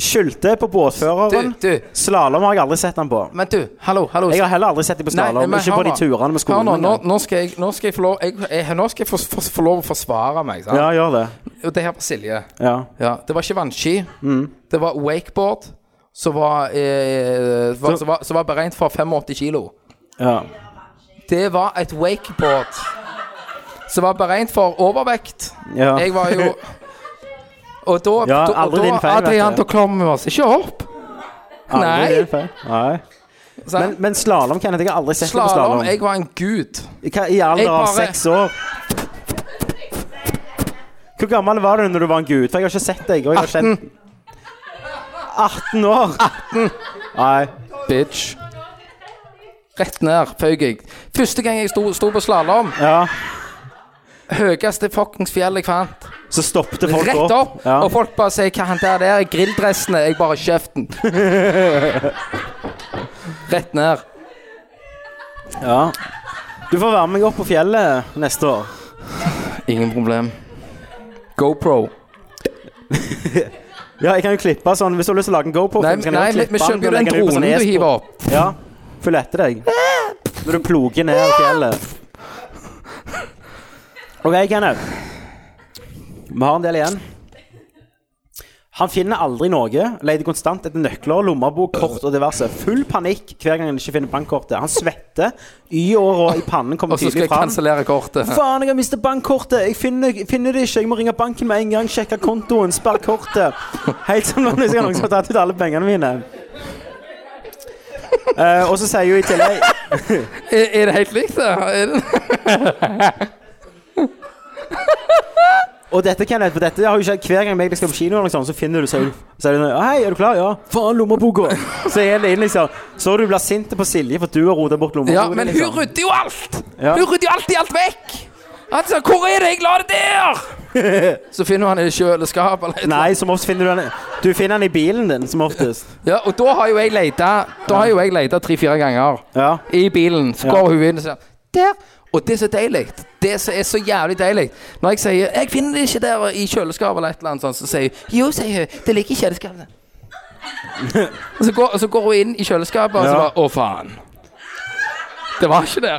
Speaker 4: skyldte på båtføreren.
Speaker 6: Du, du.
Speaker 4: Slalåm har jeg aldri sett han på.
Speaker 6: Men du, hallo, hallo.
Speaker 4: Jeg har heller aldri sett dem på
Speaker 6: Nei,
Speaker 4: slalåm.
Speaker 6: men
Speaker 4: Ikke
Speaker 6: hør
Speaker 4: på de
Speaker 6: nå.
Speaker 4: turene med skolen.
Speaker 6: Hør nå, nå,
Speaker 4: engang.
Speaker 6: nå, skal jeg, nå skal jeg få lov jeg, jeg, Nå skal jeg få, få, få lov å forsvare meg. Sant?
Speaker 4: Ja, gjør det.
Speaker 6: Og det her var Silje.
Speaker 4: Ja. Mm.
Speaker 6: Ja, det var ikke vannski. Det var wakeboard, som var, eh, var,
Speaker 4: Så-
Speaker 6: som var, som var beregnet for 85 kilo.
Speaker 4: ja.
Speaker 6: Det var et wakeboard som var beregnet for overvekt.
Speaker 4: Ja.
Speaker 6: Jeg var jo Og da
Speaker 4: Ja,
Speaker 6: da-
Speaker 4: aldri
Speaker 6: og da,
Speaker 4: din feil, vet
Speaker 6: Adrian,
Speaker 4: du.
Speaker 6: da kommer vi oss ikke opp.
Speaker 4: Aldri
Speaker 6: Nei.
Speaker 4: det, feil. Nei.
Speaker 6: sant?
Speaker 4: Men, men slalåm, Kenneth. Jeg har aldri sett dem på
Speaker 6: Slalåm
Speaker 4: slalåm.
Speaker 6: Jeg var en gud.
Speaker 4: Hva, I alder
Speaker 6: Jeg
Speaker 4: av
Speaker 6: bare-
Speaker 4: seks år. Hvor gammel var du når du var en gud? For jeg har ikke sett deg. Og jeg har kjent... 18 år? 18. Nei.
Speaker 6: Bitch. Rett ned, føyk jeg. Første gang jeg sto, sto på slalåm
Speaker 4: Ja.
Speaker 6: høyeste fuckings fjell jeg fant.
Speaker 4: Så stoppet folk
Speaker 6: Rett opp!
Speaker 4: Ja.
Speaker 6: Og folk bare sier 'hva han der der er grilldressen'. Jeg bare
Speaker 4: <laughs>
Speaker 6: kjeften. Rett ned.
Speaker 4: ja. Du får være med meg opp på fjellet neste år.
Speaker 6: Ingen problem. GoPro.
Speaker 4: Ja, jeg kan jo klippe sånn Hvis du har lyst til å lage en GoPro,
Speaker 6: Nei,
Speaker 4: film, kan
Speaker 6: nei
Speaker 4: jeg
Speaker 6: vi,
Speaker 4: jo
Speaker 6: vi
Speaker 4: klippe den og
Speaker 6: kjøper jo den
Speaker 4: legge den ut på sånn
Speaker 6: dronen du
Speaker 4: e-sport.
Speaker 6: hiver opp.
Speaker 4: Ja. Følg etter deg. Når du ploger ned fjellet. OK, Kenneth. Vi har en del igjen. Han finner aldri noe. Leter konstant etter nøkler, lommebok, kort og diverse. Full panikk hver gang han ikke finner bankkortet. Han svetter. Y-åra i pannen kommer
Speaker 6: Og så skal
Speaker 4: tydelig
Speaker 6: jeg
Speaker 4: fram.
Speaker 6: kansellere kortet.
Speaker 4: Faen, jeg har mistet bankkortet! Jeg finner, jeg finner det ikke! Jeg må ringe banken med en gang, sjekke kontoen, sperre kortet. Helt som om det er noen som har tatt ut alle pengene mine. Eh, og så sier hun i tillegg
Speaker 6: Er, <laughs> er det helt likt, det?
Speaker 4: <laughs>
Speaker 6: Er det?
Speaker 4: Og dette kan jeg, for dette har jo skjedd hver gang jeg skal på kino, eller noe sånt, så finner du sier du- sier du, Hei, er du klar? Ja. Faen, lommeboka! Så er det inn, liksom. Så du blir sint på Silje for at du har rota bort lommeboka.
Speaker 6: Ja, men hun
Speaker 4: liksom.
Speaker 6: rydder jo alt!
Speaker 4: Ja.
Speaker 6: Hun rydder jo alltid alt vekk! Han sa 'Hvor er det? Jeg la det der!'
Speaker 4: <laughs>
Speaker 6: Så finner han det i kjøleskapet. eller et eller
Speaker 4: Nei, som oftest finner du den Du finner den i bilen din, som oftest.
Speaker 6: annet. Ja, og da har jo jeg leita Da har jo jeg leita tre-fire ganger
Speaker 4: Ja.
Speaker 6: i bilen. Så går hun inn og sier 'Der!' Og det som er deilig, det som er så jævlig deilig Når jeg sier 'Jeg finner det ikke der i kjøleskapet', eller et eller annet sånt, så sier hun 'Jo', sier hun. 'Det ligger i
Speaker 4: <laughs>
Speaker 6: kjøleskapet'. og, så går, og så går hun inn i kjøleskapet, og så
Speaker 4: Ja.
Speaker 6: bare 'Å, faen'. Det var ikke der.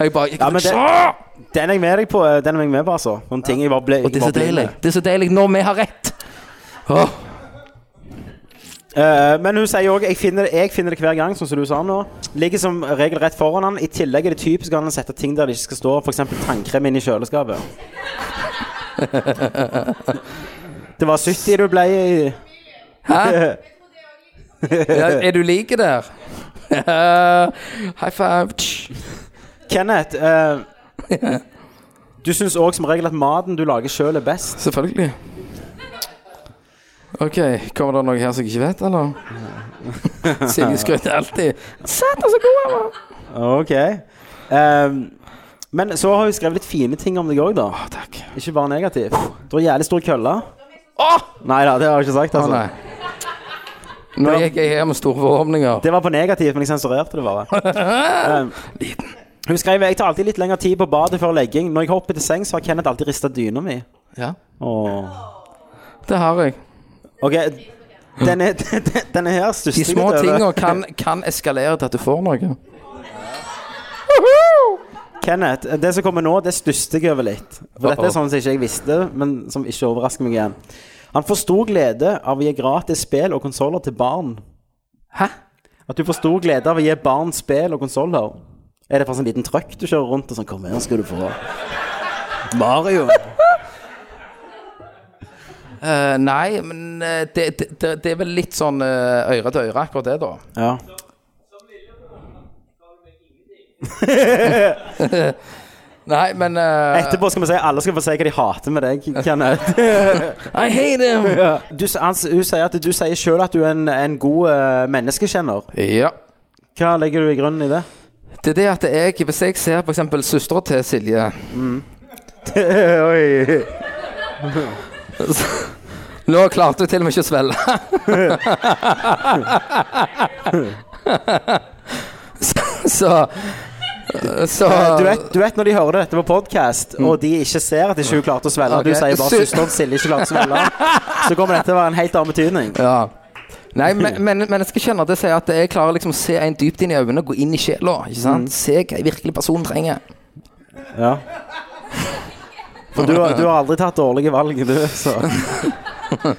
Speaker 6: Jeg bare jeg,
Speaker 4: Ja, men det-
Speaker 6: «Åh!»
Speaker 4: Den er jeg med deg på, eh, den er jeg med på, altså. Noen ting jeg bare ble
Speaker 6: Og det er så
Speaker 4: bare ble med.
Speaker 6: deilig. Det er så deilig når vi har rett.
Speaker 4: <laughs>
Speaker 6: Åh,
Speaker 4: Eh, men hun sier òg jeg, finner det- jeg finner det hver gang, sånn som du sa nå. Ligger som regel rett foran han. I tillegg er det typisk at han setter ting der det ikke skal stå, f.eks. tannkrem inn i kjøleskapet.
Speaker 6: <laughs>
Speaker 4: Det var 70 du ble i
Speaker 6: Hæ? Ja, er du like der? <laughs> High five. Tsk.
Speaker 4: Kenneth, eh, du syns òg som regel at maten du lager sjøl, er best.
Speaker 6: Selvfølgelig. OK, kommer det noe her som jeg ikke vet, <laughs> eller? Silje skryter alltid. Satan, så god han var!
Speaker 4: Ok. Eh, men så har hun skrevet litt fine ting om deg òg, da.
Speaker 6: Å, takk.
Speaker 4: Ikke bare negativt. Du har jævlig stor kølle.
Speaker 6: Å!
Speaker 4: Nei da, det har hun ikke sagt,
Speaker 6: Å,
Speaker 4: altså.
Speaker 6: nei. Nå gikk jeg her med store forhåpninger.
Speaker 4: Det var på negativt, men jeg sensurerte det bare.
Speaker 6: <laughs>
Speaker 4: Um, hun skrev jeg tar alltid litt lengre tid på badet før legging. Når jeg hopper til sengs, har Kenneth alltid rista dyna mi.
Speaker 6: Ja,
Speaker 4: Åh.
Speaker 6: det har jeg.
Speaker 4: Ok, denne, <laughs> denne her stusser
Speaker 6: De
Speaker 4: jeg
Speaker 6: små
Speaker 4: litt over.
Speaker 6: tinga kan, kan eskalere til at du får noe.
Speaker 4: <laughs> Kenneth, det som kommer nå, det stusser jeg over litt. For dette er sånn som ikke jeg visste, men som ikke overrasker meg igjen. Han får stor glede av å gi gratis spill og konsoller til barn.
Speaker 6: Hæ?
Speaker 4: At du får stor glede av å gi barn spill og konsoller. Er det for sånn liten trøkk du kjører rundt og sånn Kom her, skal du få Mario.
Speaker 6: Eh, nei, men eh, det, det, det, det er vel litt sånn eh, øre til øre, akkurat det, da.
Speaker 4: Ja.
Speaker 6: Nei, men eh,
Speaker 4: Etterpå skal vi si alle skal få si hva de hater med deg. <laughs> Kenneth.
Speaker 6: I hate him!
Speaker 4: Du, s- han, s- hun sier at du sier sjøl at du er en, en god eh, menneskekjenner.
Speaker 6: Ja.
Speaker 4: Hva legger du i grunnen i det?
Speaker 6: Det er det at jeg Hvis jeg ser f.eks. søstera til Silje,
Speaker 4: <laughs> Oi.
Speaker 6: Nå klarte hun til og med ikke å svelge. så Så
Speaker 4: Eh, Du vet, du vet når de hører dette på podkast, og de ikke ser at ikke hun klarte å svelle, og du
Speaker 6: Ok.
Speaker 4: sier bare
Speaker 6: Sy-
Speaker 4: søsteren Silje ikke klarte å svelle, <laughs> så kommer dette til å være en helt annen betydning.
Speaker 6: Ja. Nei, men, men, men jeg skal kjenne at det sier at jeg klarer liksom å se en dypt inn i øynene, gå inn i sjela. Ikke
Speaker 4: Mm.
Speaker 6: sant? Se hva en virkelig person trenger.
Speaker 4: Ja. For du, har- du har aldri tatt dårlige valg, du. Så. <laughs>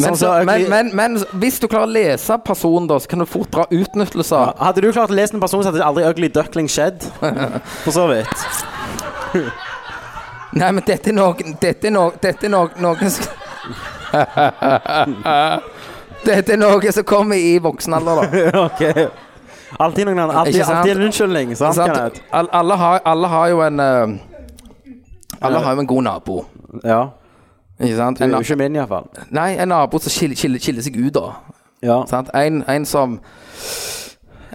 Speaker 6: Men,
Speaker 4: Sånn
Speaker 6: så,
Speaker 4: som-
Speaker 6: men, men, men hvis du klarer å lese personen, da, så kan du fort dra utnyttelser.
Speaker 4: Hadde du klart å lese en person, så hadde aldri Ugly Duckling <laughs> skjedd. For så vidt.
Speaker 6: Nei, men dette er noen Dette er noen Dette er noen, noen som <laughs> Dette er noe som kommer i voksen alder, da.
Speaker 4: Ok. Alltid noen andre. Alltid,
Speaker 6: Ikke sant?
Speaker 4: alltid en unnskyldning. Sant,
Speaker 6: Sant?
Speaker 4: Kenneth?
Speaker 6: Al- alle, har, alle har jo en eh, Alle har jo en god nabo.
Speaker 4: Ja.
Speaker 6: Ikke sant?
Speaker 4: Du er
Speaker 6: En,
Speaker 4: jo ikke min, iallfall.
Speaker 6: nei, en nabo som skiller, skiller, skiller seg ut, da.
Speaker 4: Ja.
Speaker 6: Sant? En, en som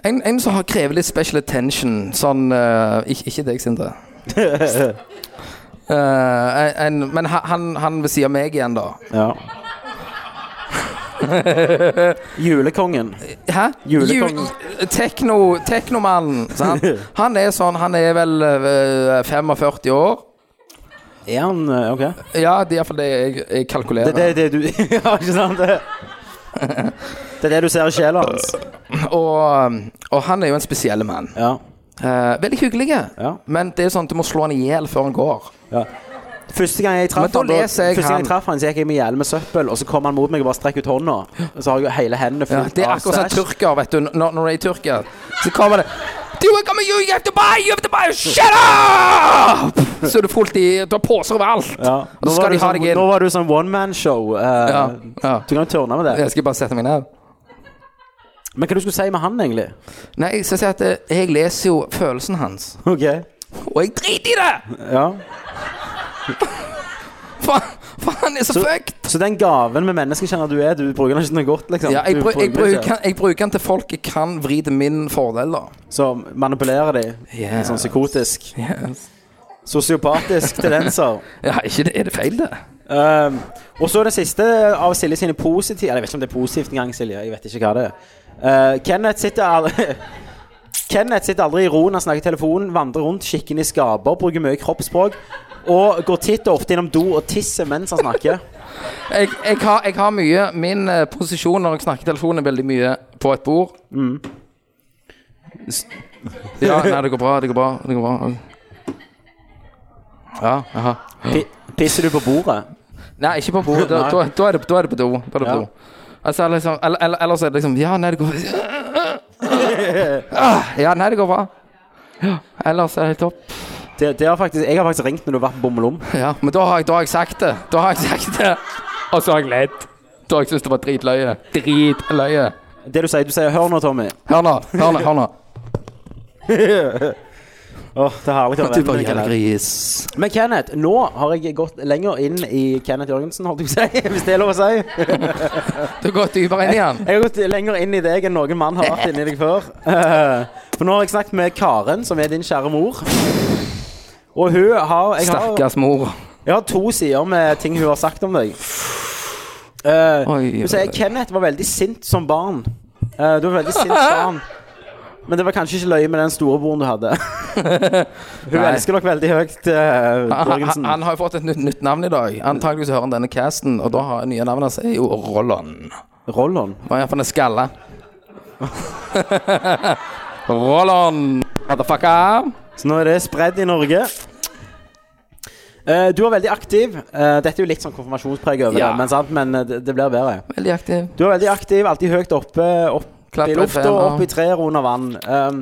Speaker 6: en, en som har
Speaker 4: <laughs>
Speaker 6: krever litt special attention. Sånn eh, ikke, ikke deg, Sindre. Eh, en, men ha- han, han ved siden av meg igjen, da.
Speaker 4: Ja.
Speaker 6: <laughs>
Speaker 4: Julekongen.
Speaker 6: Hæ?
Speaker 4: Julekongen.
Speaker 6: Ju- Tekno, teknomannen. Sant?
Speaker 4: <laughs>
Speaker 6: Han er sånn, han er vel eh, 45 år.
Speaker 4: Er han eh, OK?
Speaker 6: Ja, det er iallfall det jeg, jeg kalkulerer.
Speaker 4: Det er det, det du <laughs> Ja, ikke sant?
Speaker 6: <laughs>
Speaker 4: Det, det er det du ser i sjela hans.
Speaker 6: Og, um, og han er jo en spesiell mann.
Speaker 4: Ja.
Speaker 6: Eh, veldig hyggelig,
Speaker 4: Ja.
Speaker 6: men det er sånn at du må slå han i hjel før han går.
Speaker 4: Første gang jeg
Speaker 6: Men
Speaker 4: traff
Speaker 6: da
Speaker 4: han, da-
Speaker 6: leser jeg
Speaker 4: første gang
Speaker 6: han.
Speaker 4: jeg traff han, så gikk jeg med hjelm med søppel, og så kom han mot meg og bare strekk ut hånda. Og så har jeg jo hele hendene
Speaker 6: Ja,
Speaker 4: fullt
Speaker 6: det er
Speaker 4: av
Speaker 6: akkurat som en
Speaker 4: stæsj.
Speaker 6: tyrker, vet du. Når, når du er i Tyrkia, så kommer det Do you come you, you have to buy, you have to buy, shut up! Så er du fullt i Du har poser overalt.
Speaker 4: Ja.
Speaker 6: Og
Speaker 4: Nå,
Speaker 6: så
Speaker 4: var
Speaker 6: skal
Speaker 4: du
Speaker 6: de ha
Speaker 4: sånn,
Speaker 6: deg inn.
Speaker 4: nå var du sånn one man-show. eh,
Speaker 6: Ja, ja.
Speaker 4: Du kan jo tørne med det.
Speaker 6: Jeg skal bare sette meg ned.
Speaker 4: Men hva du skulle si med han, egentlig?
Speaker 6: Nei, jeg skal si at eh, jeg leser jo følelsen hans.
Speaker 4: <laughs> OK.
Speaker 6: Og jeg driter i det!
Speaker 4: Ja.
Speaker 6: For, for han er så,
Speaker 4: Så-
Speaker 6: fucked.
Speaker 4: Så den gaven med menneskekjenner du er, du bruker den ikke til noe godt, liksom?
Speaker 6: Ja, jeg,
Speaker 4: Du
Speaker 6: bru- jeg,
Speaker 4: den ikke
Speaker 6: bruker, jeg bruker den til folk jeg kan vri til min fordel, da.
Speaker 4: Som manipulerer de.
Speaker 6: Yeah.
Speaker 4: Sånn psykotisk. Sosiopatisk <laughs> tendenser.
Speaker 6: Ja, ikke det, er det feil, det?
Speaker 4: Um, og så det siste av Silje sine positive Eller jeg vet ikke om det er positivt engang, Silje. Jeg vet ikke hva det er. Uh, Kenneth sitter aldri <laughs> Kenneth sitter aldri i ro når han snakker i telefonen, vandrer rundt, kikker inn i skaper, bruker mye kroppsspråk og går titt og ofte innom do og tisser mens han snakker.
Speaker 6: Jeg, jeg, har, jeg har mye Min eh, posisjon når jeg snakker i telefonen, er veldig mye på et bord. S- Ja, nei, det går bra, det går bra. Det går bra. Ja, jaha.
Speaker 4: Pi pisser du på bordet?
Speaker 6: Nei, ikke på bordet. Da, da, da, er, det, da er det på do. Da er det på
Speaker 4: Ja.
Speaker 6: do. Altså, liksom, eller, eller, ellers er det liksom Ja, nei, det går Ah, Ja, nei, det går bra. Ja, ellers er det helt topp.
Speaker 4: Det, det har faktisk, jeg har faktisk ringt når du har vært på Bommelom.
Speaker 6: Ja, men da har jeg, da har jeg sagt det. Da har jeg sagt det. Og så har jeg ledd. Da har jeg syntes det var dritløye. Dritløye.
Speaker 4: Det du sier, du sier 'hør nå, Tommy'.
Speaker 6: Hør nå, hør nå. hør nå.
Speaker 4: Åh, <laughs> det er herlig å være venn med Kenneth.
Speaker 6: gris.
Speaker 4: Men Kenneth, nå har jeg gått lenger inn i Kenneth Jørgensen, holdt jeg på å si. <laughs> Hvis det er lov å si.
Speaker 6: Du går dypere inn igjen.
Speaker 4: Jeg har gått lenger inn i deg enn noen mann har vært inni deg før. <laughs> Eh, For nå har jeg snakket med Karen, som er din kjære mor. Og hun har jeg, har
Speaker 6: Stakkars mor.
Speaker 4: jeg har to sider med ting hun har sagt om deg. Eh,
Speaker 6: Oi,
Speaker 4: hun sier
Speaker 6: oi.
Speaker 4: Kenneth var veldig sint som barn. Eh, du var veldig sint barn. Men det var kanskje ikke løye med den storebroren du
Speaker 6: <laughs>
Speaker 4: hadde. hun
Speaker 6: Nei.
Speaker 4: elsker dere veldig høyt, eh,
Speaker 6: Han, han,
Speaker 4: Jørgensen.
Speaker 6: han har jo fått et nytt, nytt navn i dag. Antakeligvis hører han denne casten, og da har nye navnet hans er jo Rolland.
Speaker 4: Rollon.
Speaker 6: Han er iallfall en skalle. <laughs> Rolland, motherfucker.
Speaker 4: Så nå er det spredd i Norge. Eh, du var veldig aktiv. Eh, dette er jo litt sånn konfirmasjonspreg over
Speaker 6: Ja.
Speaker 4: det, men, sant? men eh, det, det blir bedre.
Speaker 6: Veldig aktiv.
Speaker 4: Du var veldig aktiv, alltid høyt oppe, opp
Speaker 6: Klatre
Speaker 4: i
Speaker 6: i
Speaker 4: lufta,
Speaker 6: trærne.
Speaker 4: opp i trær og under vann. Um,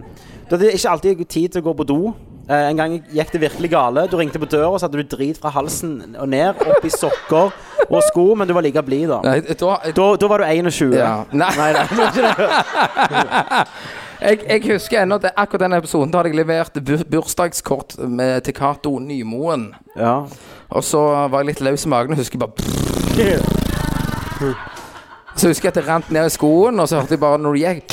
Speaker 4: du hadde ikke alltid tid til å gå på do. Eh, en gang gikk det virkelig gale. Du ringte på døra, så hadde du drit fra halsen og ned, opp i sokker og sko, men du var like blid da.
Speaker 6: Nei, da,
Speaker 4: Da, da var du 21.
Speaker 6: Ja. Nei.
Speaker 4: Nei, nei, det var ikke det.
Speaker 6: Jeg, jeg husker ennå at akkurat den episoden da hadde jeg levert bu- bursdagskort med, til Cato Nymoen.
Speaker 4: Ja.
Speaker 6: Og så var jeg litt løs i magen og husker bare Så husker jeg at det rant ned i skoen, og så hørte jeg bare når det gikk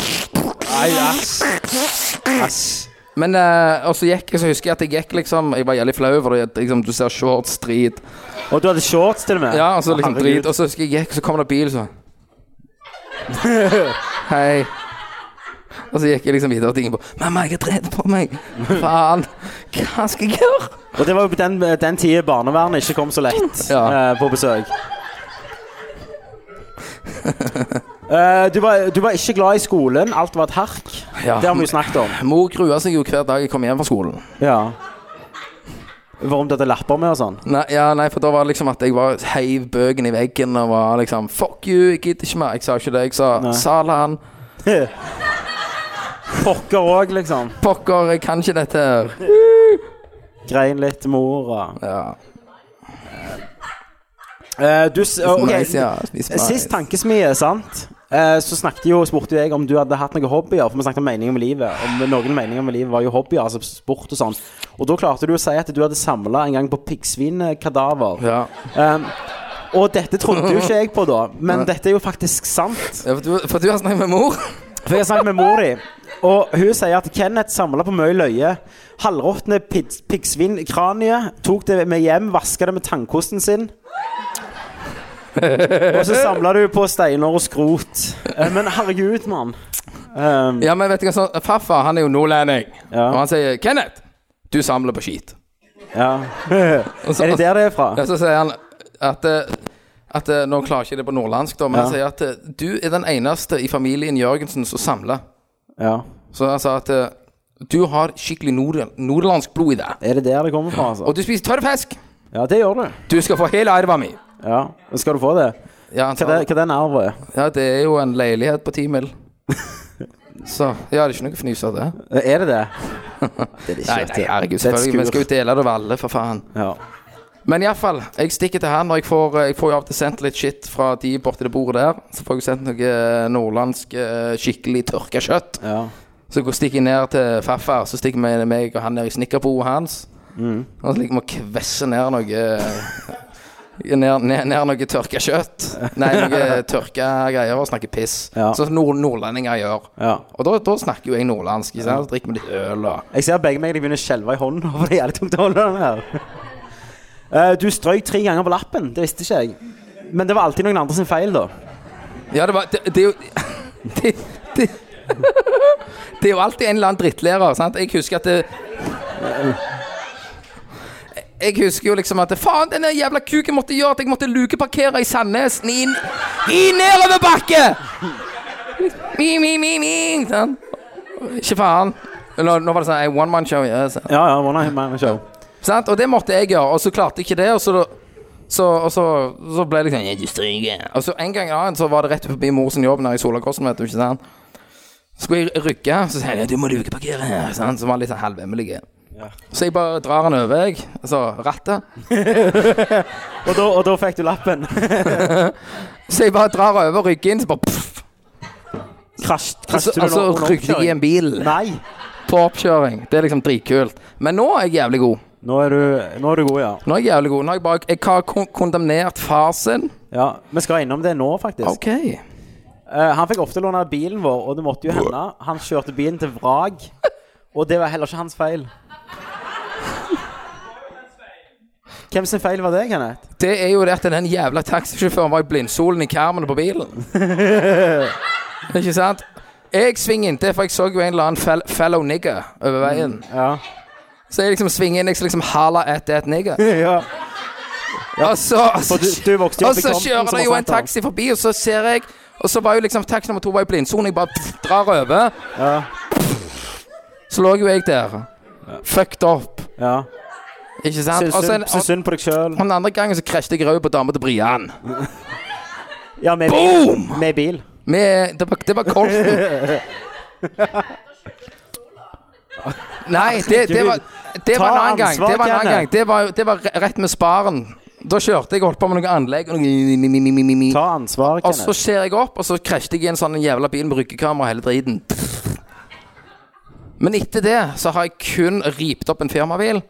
Speaker 6: Men eh, Og så gikk jeg, så husker jeg at jeg gikk liksom Jeg var jævlig flau over det. Liksom, du ser shorts, drit.
Speaker 4: Og du hadde shorts til og med.
Speaker 6: Ja, og så liksom
Speaker 4: Herregud.
Speaker 6: drit. Og så husker jeg gikk, og så kom det bil, så <laughs> Hei. Og så gikk jeg liksom videre og tingene på Mamma, jeg har dritt på meg. Faen. Hva skal jeg gjøre?
Speaker 4: Og det var jo på den, den tida barnevernet ikke kom så lett
Speaker 6: <laughs> Ja.
Speaker 4: eh, på besøk. Eh, du, var, du var ikke glad i skolen. Alt var et hark.
Speaker 6: Ja.
Speaker 4: Det har vi jo snakket om.
Speaker 6: Mor grua seg jo hver dag jeg kom hjem fra skolen.
Speaker 4: Ja. Hvorom du hadde lapper med og sånn. <laughs>
Speaker 6: Nei, ja, nei, for da var det liksom at jeg var heiv bøken i veggen og var liksom Fuck you, jeg gidder ikke mer. Jeg sa ikke det. Jeg sa
Speaker 4: Nei.
Speaker 6: Salan.
Speaker 4: Pokker òg, liksom.
Speaker 6: Pokker, jeg kan ikke dette her.
Speaker 4: Grein litt mor og
Speaker 6: Ja.
Speaker 4: Eh, Du s- ok,
Speaker 6: Nice, ja. Spis mais.
Speaker 4: Sist tankesmie, sant? Eh, Så snakket jo, spurte jeg om du hadde hatt noen hobbyer, for vi snakket om meninger med livet. Om noen meninger med livet var jo hobbyer, altså sport og sånn. Og da klarte du å si at du hadde samla en gang på piggsvinkadaver.
Speaker 6: Ja.
Speaker 4: Um, og dette trodde jo ikke jeg på da, men dette er jo faktisk sant.
Speaker 6: ja for, du, for du har snakket med mor?
Speaker 4: For jeg har snakket med mor di, og hun sier at Kenneth samla på mye løye. Halvråtne pigs- piggsvinkranier. Tok det med hjem, vaska det med tannkosten sin. Og så samla du på steiner og skrot. Eh, Men herregud, mann. Um,
Speaker 6: Ja, men vet du hva, så, farfar han er jo nordlending,
Speaker 4: Ja.
Speaker 6: og han sier 'Kenneth, du samler på skit'.
Speaker 4: ja.
Speaker 6: Og så,
Speaker 4: Er det der det er fra?
Speaker 6: Ja, så sier han at, eh, at eh, Nå klarer jeg ikke det på nordlandsk, da, men han sier
Speaker 4: Ja.
Speaker 6: at eh, du er den eneste i familien Jørgensen som samler.
Speaker 4: Ja.
Speaker 6: Så han sa at eh, du har skikkelig nord nordlandsk blod i deg.
Speaker 4: Er det der det kommer fra, altså?
Speaker 6: Og du spiser tørr fisk!
Speaker 4: Ja, det gjør du.
Speaker 6: Du skal få hele arva mi!
Speaker 4: Ja. Skal du få det?
Speaker 6: Ja, han
Speaker 4: Hva
Speaker 6: sa
Speaker 4: er det- hva er den arven er?
Speaker 6: Ja, det er jo en leilighet på
Speaker 4: <laughs>
Speaker 6: ti mil. Så ja, det er ikke noe fnys av det.
Speaker 4: Er det det? Det er det ikke.
Speaker 6: Nei,
Speaker 4: vet
Speaker 6: nei,
Speaker 4: du. Det er
Speaker 6: herregud,
Speaker 4: et
Speaker 6: selvfølgelig. Vi
Speaker 4: skur.
Speaker 6: skal jo dele det over alle, for faen.
Speaker 4: Ja.
Speaker 6: Men iallfall, jeg stikker til her når jeg får Jeg får jo av og til sendt litt shit fra de borti det bordet der. Så får jeg sendt noe nordlandsk eh, skikkelig tørka kjøtt.
Speaker 4: Ja.
Speaker 6: Så går stikker jeg ned til farfar, så stikker vi meg og han ned i snekkerboet hans. Og så ligger vi og kvesser ned noe eh, Ned, ned, ned noe tørka kjøtt. Nei, noe tørka greier og snakker piss.
Speaker 4: Ja.
Speaker 6: Sånn som nord nordlendinger gjør.
Speaker 4: ja.
Speaker 6: Og da, da snakker jo jeg nordlandsk. Ikke sant? Så drikker vi litt øl og
Speaker 4: Jeg ser begge meg de begynner å skjelve i hånden. For det er jævlig tungt å holde den her. Eh, du strøyk tre ganger på lappen. Det visste ikke jeg. Men det var alltid noen andre sin feil, da.
Speaker 6: Ja, det var Det, det er jo <laughs> det, det, det er jo alltid en eller annen drittlærer, sant? Jeg husker at det, Jeg husker jo liksom at Faen, den der jævla kuken måtte gjøre at jeg måtte lukeparkere i Sandnes i, i nedoverbakke! Mi, mi, mi, mi, sant? Ikke faen. Nå, nå var det sånn one man show. Ja, sant?
Speaker 4: Ja, ja, one man show.
Speaker 6: Sant? Og det måtte jeg gjøre, og så klarte jeg ikke det. Og så, så, og så, så ble det sånn «Ja, du stryker». Og så en gang en annen så var det rett forbi mor sin jobb nede i Solakosten, vet du ikke sant. Skulle jeg rygge, så sier jeg ja, du må lukeparkere her. Sant? Så var han litt sånn halvemmelig. Så jeg bare drar han over, jeg. Altså rattet.
Speaker 4: Og da, og da fikk du lappen. <laughs>
Speaker 6: Så jeg bare drar over ryggen, så bare pff,
Speaker 4: Krasj,
Speaker 6: altså,
Speaker 4: krasj,
Speaker 6: altså rygger jeg i en bil
Speaker 4: Nei.
Speaker 6: på oppkjøring. Det er liksom dritkult. Men nå er jeg jævlig god.
Speaker 4: Nå er, du, nå er du god, ja.
Speaker 6: Nå er jeg jævlig god. Nå har jeg bare jeg har kon kondemnert far sin.
Speaker 4: ja. Vi skal innom det nå, faktisk.
Speaker 6: OK.
Speaker 4: Eh, han fikk ofte låne bilen vår, og det måtte jo hende. Han kjørte bilen til vrak, og det var heller ikke hans feil. Hvem sin feil var det, Kenneth?
Speaker 6: Det er jo det at den jævla taxisjåføren var i blindsolen i karmene
Speaker 4: <laughs>
Speaker 6: på bilen. Ikke sant? Jeg svinger inntil, for jeg så jo en eller annen fel fellow nigger over veien.
Speaker 4: Ja.
Speaker 6: Så jeg liksom svinger inn, jeg skal liksom halla at that nigger.
Speaker 4: <laughs> ja.
Speaker 6: Og så, og så,
Speaker 4: For du, du vokste jo
Speaker 6: og
Speaker 4: opp i
Speaker 6: så
Speaker 4: Compton,
Speaker 6: kjører
Speaker 4: som
Speaker 6: det jo
Speaker 4: har
Speaker 6: en
Speaker 4: sagt han.
Speaker 6: taxi forbi, og så ser jeg Og så var jo liksom taxi nummer to var i blindsolen, jeg bare pff, drar over.
Speaker 4: Ja.
Speaker 6: Så lå jo jeg der. Fucked up.
Speaker 4: Ja.
Speaker 6: Ikke sant?
Speaker 4: Syns
Speaker 6: Og så
Speaker 4: synd,
Speaker 6: en,
Speaker 4: syns synd på deg sjøl.
Speaker 6: og den andre gangen så krasjet jeg rød på dama til Brian.
Speaker 4: Ja, med bil.
Speaker 6: Boom!
Speaker 4: Med bil.
Speaker 6: Med, det, var, det var Colton. Nei, det, det var Det var en
Speaker 4: Ta
Speaker 6: annen gang.
Speaker 4: ansvar,
Speaker 6: Det var, en annen
Speaker 4: Kenneth.
Speaker 6: gang. Det var, det var re- rett med sparen. Da kjørte jeg og holdt på med noe anlegg. Og, noe,
Speaker 4: Ta ansvar,
Speaker 6: og så
Speaker 4: Kenneth.
Speaker 6: ser jeg opp, og så krasjet jeg i en sånn jævla bil med ryggekamera hele driten. Men etter det så har jeg kun ript opp en firmabil.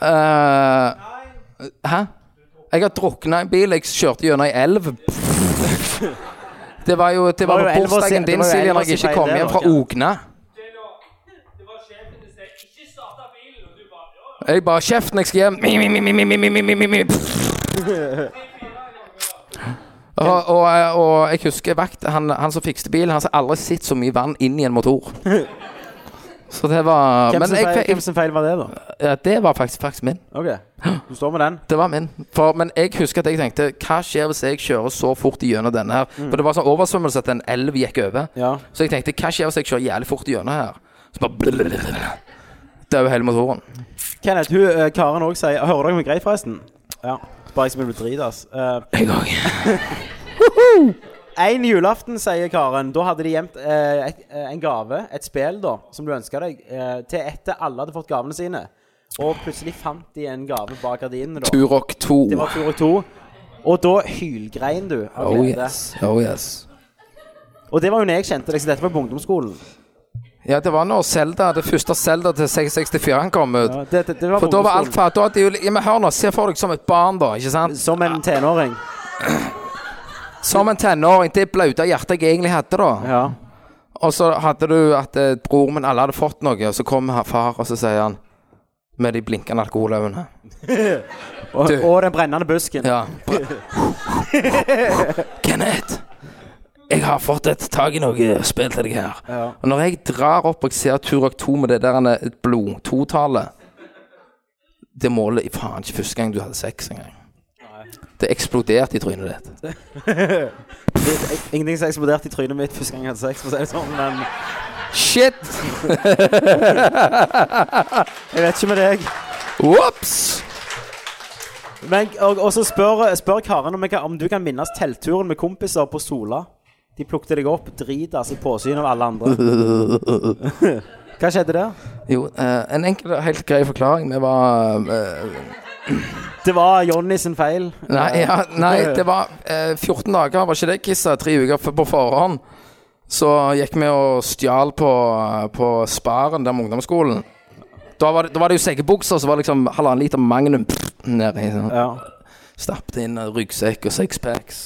Speaker 6: Eh, hæ? Jeg har drukna i en bil. Jeg kjørte gjennom ei elv. Det var jo det var
Speaker 4: Det var
Speaker 6: på
Speaker 4: jo elva sin-
Speaker 6: bursdagen
Speaker 4: det
Speaker 6: din,
Speaker 4: var jo
Speaker 6: Silje,
Speaker 4: elva
Speaker 6: når jeg
Speaker 4: sin
Speaker 6: ikke
Speaker 4: feil,
Speaker 6: kom
Speaker 4: det
Speaker 6: hjem
Speaker 4: da,
Speaker 6: fra
Speaker 4: Kenneth.
Speaker 6: Ogna.
Speaker 7: Det var sjefen din som sa ikke starta bilen, og du bare ja, ja.
Speaker 6: Jeg bare Kjeften, jeg skal hjem. Mi, mi, mi, mi, mi, mi, mi, mi, mi, mi, mi. Og, og, og jeg husker vakt, han, han som fikste bilen, han har aldri sett så mye vann inn i en motor. Så det var
Speaker 4: Hvem
Speaker 6: Men
Speaker 4: sin,
Speaker 6: jeg,
Speaker 4: feil,
Speaker 6: fe-
Speaker 4: hvem sin feil var det, da?
Speaker 6: ja, det var faktisk, faktisk min.
Speaker 4: OK, du står med den.
Speaker 6: Det var min. For, men jeg husker at jeg tenkte Hva skjer hvis jeg kjører så fort gjennom denne her? For det var sånn oversvømmelse at en elv gikk over.
Speaker 4: Mm. Ja.
Speaker 6: Så jeg tenkte Hva skjer hvis jeg kjører jævlig fort gjennom her? Så bare blablabla. Døde hele motoren.
Speaker 4: Kenneth, hun, eh, Karen òg sier Hører dere meg greit, forresten? Ja. Bare jeg som vil bli drit, ass. Eh,
Speaker 6: Jeg òg.
Speaker 4: En julaften, sier Karen, da hadde de gjemt eh, et, eh, en gave, et spill, da, som du ønska deg, eh, til etter alle hadde fått gavene sine. Og plutselig fant de en gave bak gardinene, da.
Speaker 6: Turok 2.
Speaker 4: Det var Turok 2. Og da hylgrein du av
Speaker 6: Oh
Speaker 4: glede.
Speaker 6: yes. oh yes.
Speaker 4: Og det var jo når jeg kjente deg, så dette var på ungdomsskolen.
Speaker 6: Ja, det var når Zelda, det første Zelda til 664 kom ut.
Speaker 4: Ja, det, det, det var på
Speaker 6: For da var alt
Speaker 4: ungdomsskolen.
Speaker 6: fælt. Da hadde jo- Ja, men hør nå, se for deg som et barn, da. ikke sant?
Speaker 4: Som en tenåring.
Speaker 6: Som en tenåring. Det blaute hjertet jeg egentlig hadde da.
Speaker 4: Ja.
Speaker 6: Og så hadde du at eh, bror min alle hadde fått noe, og så kom her far, og så sier han med de blinkende alkoholøynene
Speaker 4: Og,
Speaker 6: Du.
Speaker 4: og den brennende busken.
Speaker 6: Ja. Kenneth, jeg har fått et tak i noe spill til deg her. Og når jeg drar opp og jeg ser Turok 2 med det der ene- et blod, totallet Det målet i faen ikke første gang du hadde sex engang. Det eksploderte i trynet ditt.
Speaker 4: Ik- Ingenting som eksploderte i trynet mitt første gang jeg hadde sex, for å si det sånn, men
Speaker 6: Shit!
Speaker 4: jeg vet ikke med deg.
Speaker 6: Ops!
Speaker 4: Men, og, og så spør, spør Karen om, jeg, kan- om du kan minnes teltturen med kompiser på Sola. De plukket deg opp, dritas i påsyn av alle
Speaker 6: <laughs>
Speaker 4: andre. Hva skjedde der?
Speaker 6: Jo, eh, en enkel og helt grei forklaring. Vi var eh,
Speaker 4: Det var Jonny sin feil.
Speaker 6: Nei, ja, nei det var eh, 14 dager, var ikke det Kissa? Tre uker f- på forhånd. Så gikk vi og stjal på, på Sparen, der med ungdomsskolen. Da var det, da var det jo sekebukser, så var det liksom halvannen liter Magnum pff, nedi. Sånn.
Speaker 4: Ja.
Speaker 6: Stappet inn en ryggsekk og sixpacks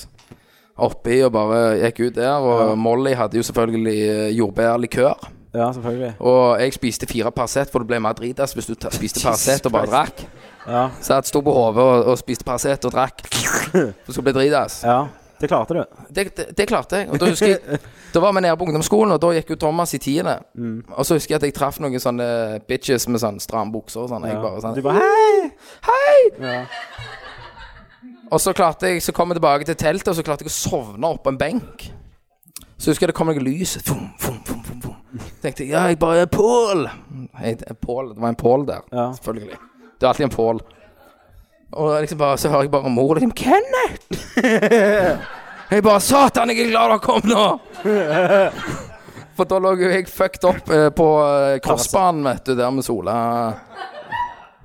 Speaker 6: oppi og bare gikk ut der. Og Molly hadde jo selvfølgelig eh, jordbærlikør.
Speaker 4: ja, selvfølgelig.
Speaker 6: Og jeg spiste fire Paracet, for det ble mer dritas hvis du ta, spiste Paracet og bare drakk.
Speaker 4: Ja.
Speaker 6: Så jeg sto på hodet og, og spiste Paracet og drakk. Så skulle det bli dritas.
Speaker 4: Ja, det klarte du.
Speaker 6: det, det, det klarte jeg. Og da husker jeg Da var vi nede på ungdomsskolen, og da gikk jo Thomas i tiende.
Speaker 4: Mm.
Speaker 6: Og så husker jeg at jeg traff noen sånne bitches med sånn stram bukse og sånn. Jeg bare sånn
Speaker 4: Du bare Hei!
Speaker 6: Hei! Og så klarte jeg Så kom jeg tilbake til teltet, og så klarte jeg å sovne oppå en benk. Så husker jeg det kom noe lys. Fum, fum, fum, fum, fum. tenkte jeg ja, jeg bare Pål! Jeg- jeg- Pål, Det var en Pål der,
Speaker 4: Ja.
Speaker 6: selvfølgelig. Det er alltid en Pål. Og liksom bare, så hører jeg bare mor liksom Kenneth! jeg bare Satan, jeg er glad dere kom nå! For da lå jo jeg fucked opp eh, på eh, crossbanen, vet du, der med Sola.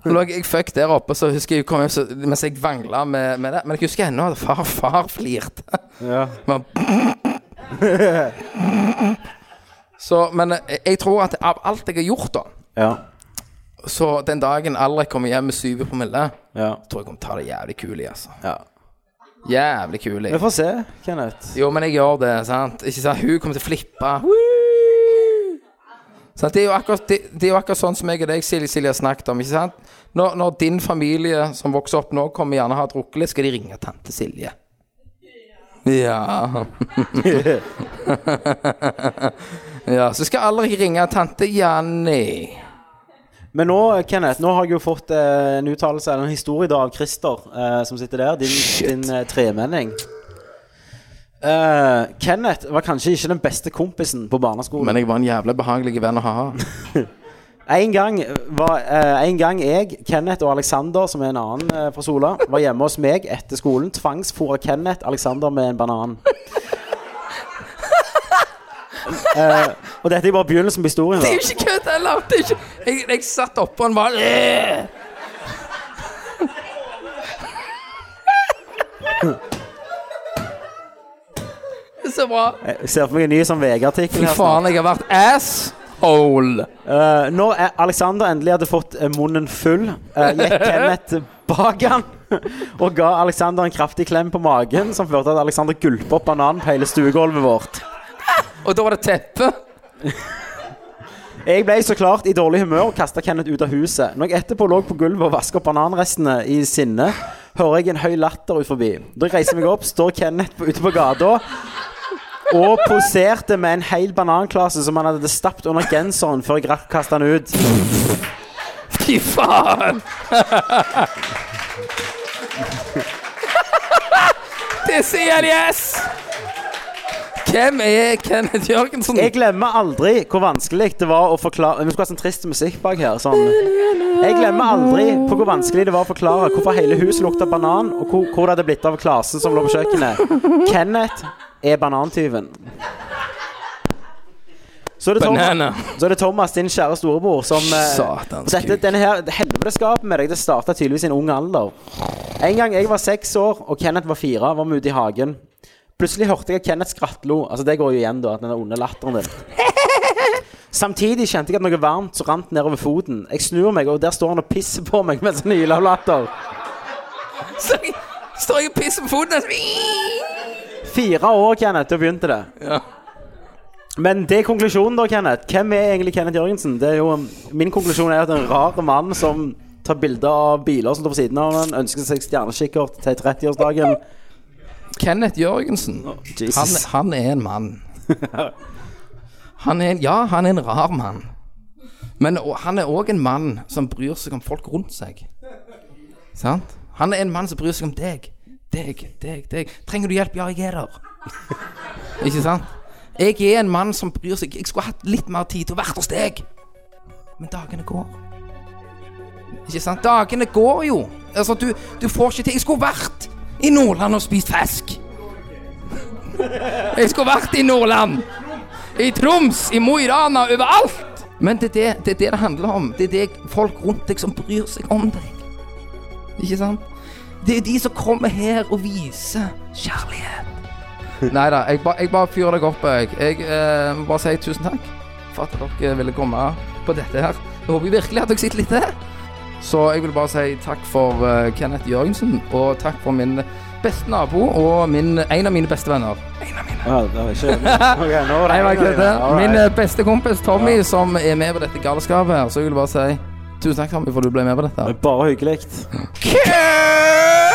Speaker 6: Så lå jeg fuck der oppe, så husker jeg kom hjem så, mens jeg vangla med, med det. Men jeg husker ennå at far, far flirte. <laughs>
Speaker 4: Ja.
Speaker 6: Men- Så, men eh, jeg, jeg tror at av alt jeg har gjort, da
Speaker 4: Ja.
Speaker 6: Så den dagen Alrik kommer hjem med syv promille,
Speaker 4: ja.
Speaker 6: tror jeg kommer til å ta det jævlig kul i, altså.
Speaker 4: Ja.
Speaker 6: Jævlig kul i.
Speaker 4: Vi får se,
Speaker 6: <laughs>
Speaker 4: Kenneth.
Speaker 6: Jo, men jeg gjør det, sant. Ikke sant? Hun kommer til å flippe. Woo! Sant? Det, er jo akkurat, det, det er jo akkurat sånn som jeg og deg, Silje, Silje har snakket om. ikke sant? Når, når din familie som vokser opp nå, kommer gjerne ha drukket litt, skal de ringe tante Silje. Ja Ja, så skal alle ringe tante Janni.
Speaker 4: Men nå, Kenneth, nå har jeg jo fått eh, en uttalelse eller en historie da av Christer, eh, som sitter der. Din, din eh, tremenning. Eh, Kenneth var kanskje ikke den beste kompisen på barneskolen.
Speaker 6: Men jeg var en jævla behagelig venn å ha.
Speaker 4: En gang, var, eh, en gang jeg, Kenneth og Alexander, som er en annen eh, fra Sola, var hjemme hos meg etter skolen, tvangsfôra Kenneth Alexander med en banan. Eh, og dette er bare begynnelsen på historien.
Speaker 6: Det er
Speaker 4: Da.
Speaker 6: jo ikke kødd heller! Det er ikke... jeg, jeg satt oppå og bare "Øh!" Det er Så bra.
Speaker 4: Jeg ser for meg en ny sånn VG-artikkel.
Speaker 6: Fy
Speaker 4: her snart.
Speaker 6: faen, jeg har vært asshole.
Speaker 4: Eh, når eh, Alexander endelig hadde fått eh, munnen full, eh, gikk Kenneth bak han <laughs> og ga Alexander en kraftig klem på magen, som førte til at Alexander gulpet opp bananen på hele stuegulvet vårt.
Speaker 6: Og da var det teppe.
Speaker 4: Jeg ble så klart i dårlig humør og kasta Kenneth ut av huset. Når jeg etterpå lå på gulvet og vaska opp bananrestene i sinne, hører jeg en høy latter ut forbi. Da jeg reiser meg opp, står Kenneth på- ute på gata og poserte med en hel bananklase som han hadde stappet under genseren før jeg rakk å kaste den ut.
Speaker 6: Fy faen! Det er så jævlig ass! Hvem er Kenneth Jørgensen?
Speaker 4: Jeg glemmer aldri hvor vanskelig det var å forklare Vi skulle ha sånn trist musikk bak her. Sånn. Jeg glemmer aldri på hvor vanskelig det var å forklare hvorfor hele huset lukta banan, og hvor, hvor det hadde blitt av klasen som lå på kjøkkenet. Kenneth er banantyven. Så er det sånn- Thomas,
Speaker 6: Banana.
Speaker 4: så er det Thomas din kjære storebror, som eh,
Speaker 6: Satans
Speaker 4: dette,
Speaker 6: kuk.
Speaker 4: denne her, det Helveteskapet med deg, det starta tydeligvis i en ung alder. En gang jeg var seks år, og Kenneth var fire, var vi ute i hagen. Plutselig hørte jeg at Kenneth skrattlo. Altså, det går jo igjen, da, at den der onde latteren din. Samtidig kjente jeg at noe varmt så rant nedover foten. Jeg snur meg, og der står han og pisser på meg sånn mens han hyler av latter.
Speaker 6: Så står jeg og pisser på foten hans.
Speaker 4: Fire år, Kenneth, da begynte det. Men det er konklusjonen, da, Kenneth. Hvem er egentlig Kenneth Jørgensen? Det er jo, min konklusjon er at det er en rar mann som tar bilder av biler som står på siden av ham, ønsker seg stjernekikkert til 30-årsdagen.
Speaker 6: Kenneth Jørgensen. Han,
Speaker 4: Jesus.
Speaker 6: han er en mann. Han er, en- ja, han er en rar mann. Men å- han er òg en mann som bryr seg om folk rundt seg. Sant? Han er en mann som bryr seg om deg. Deg, deg, deg. Trenger du hjelp? Ja, jeg er der. <laughs> Ikke sant? Jeg er en mann som bryr seg. Jeg skulle hatt litt mer tid til å være hos deg. Men dagene går. Ikke sant? Dagene går jo. Altså, du, du får ikke til. Jeg skulle vært i Nordland og spist fisk. Jeg skulle vært i Nordland. I Troms, i Mo i Rana, overalt. Men det er det, det er det det handler om. Det er det folk rundt deg som bryr seg om deg. Ikke sant? Det er de som kommer her og viser kjærlighet. Nei da, jeg, ba, jeg bare fyrer deg opp. Jeg, jeg eh, må bare si tusen takk for at dere ville komme på dette her. Jeg håper virkelig at dere sitter litt til. Så jeg vil bare si takk for eh, Kenneth Jørgensen, og takk for min beste nabo og min, en av mine beste venner. En av mine.
Speaker 4: Ja, det var
Speaker 6: <laughs>
Speaker 4: ikke Ok, nå var det
Speaker 6: Nei, jeg
Speaker 4: en av dine.
Speaker 6: kødder.
Speaker 4: All right.
Speaker 6: Min eh, beste kompis Tommy, som er med på dette galskapet her, så jeg vil bare si tusen takk, Tommy, for at du ble med på dette.
Speaker 4: Bare hyggelig.
Speaker 6: Kenneth!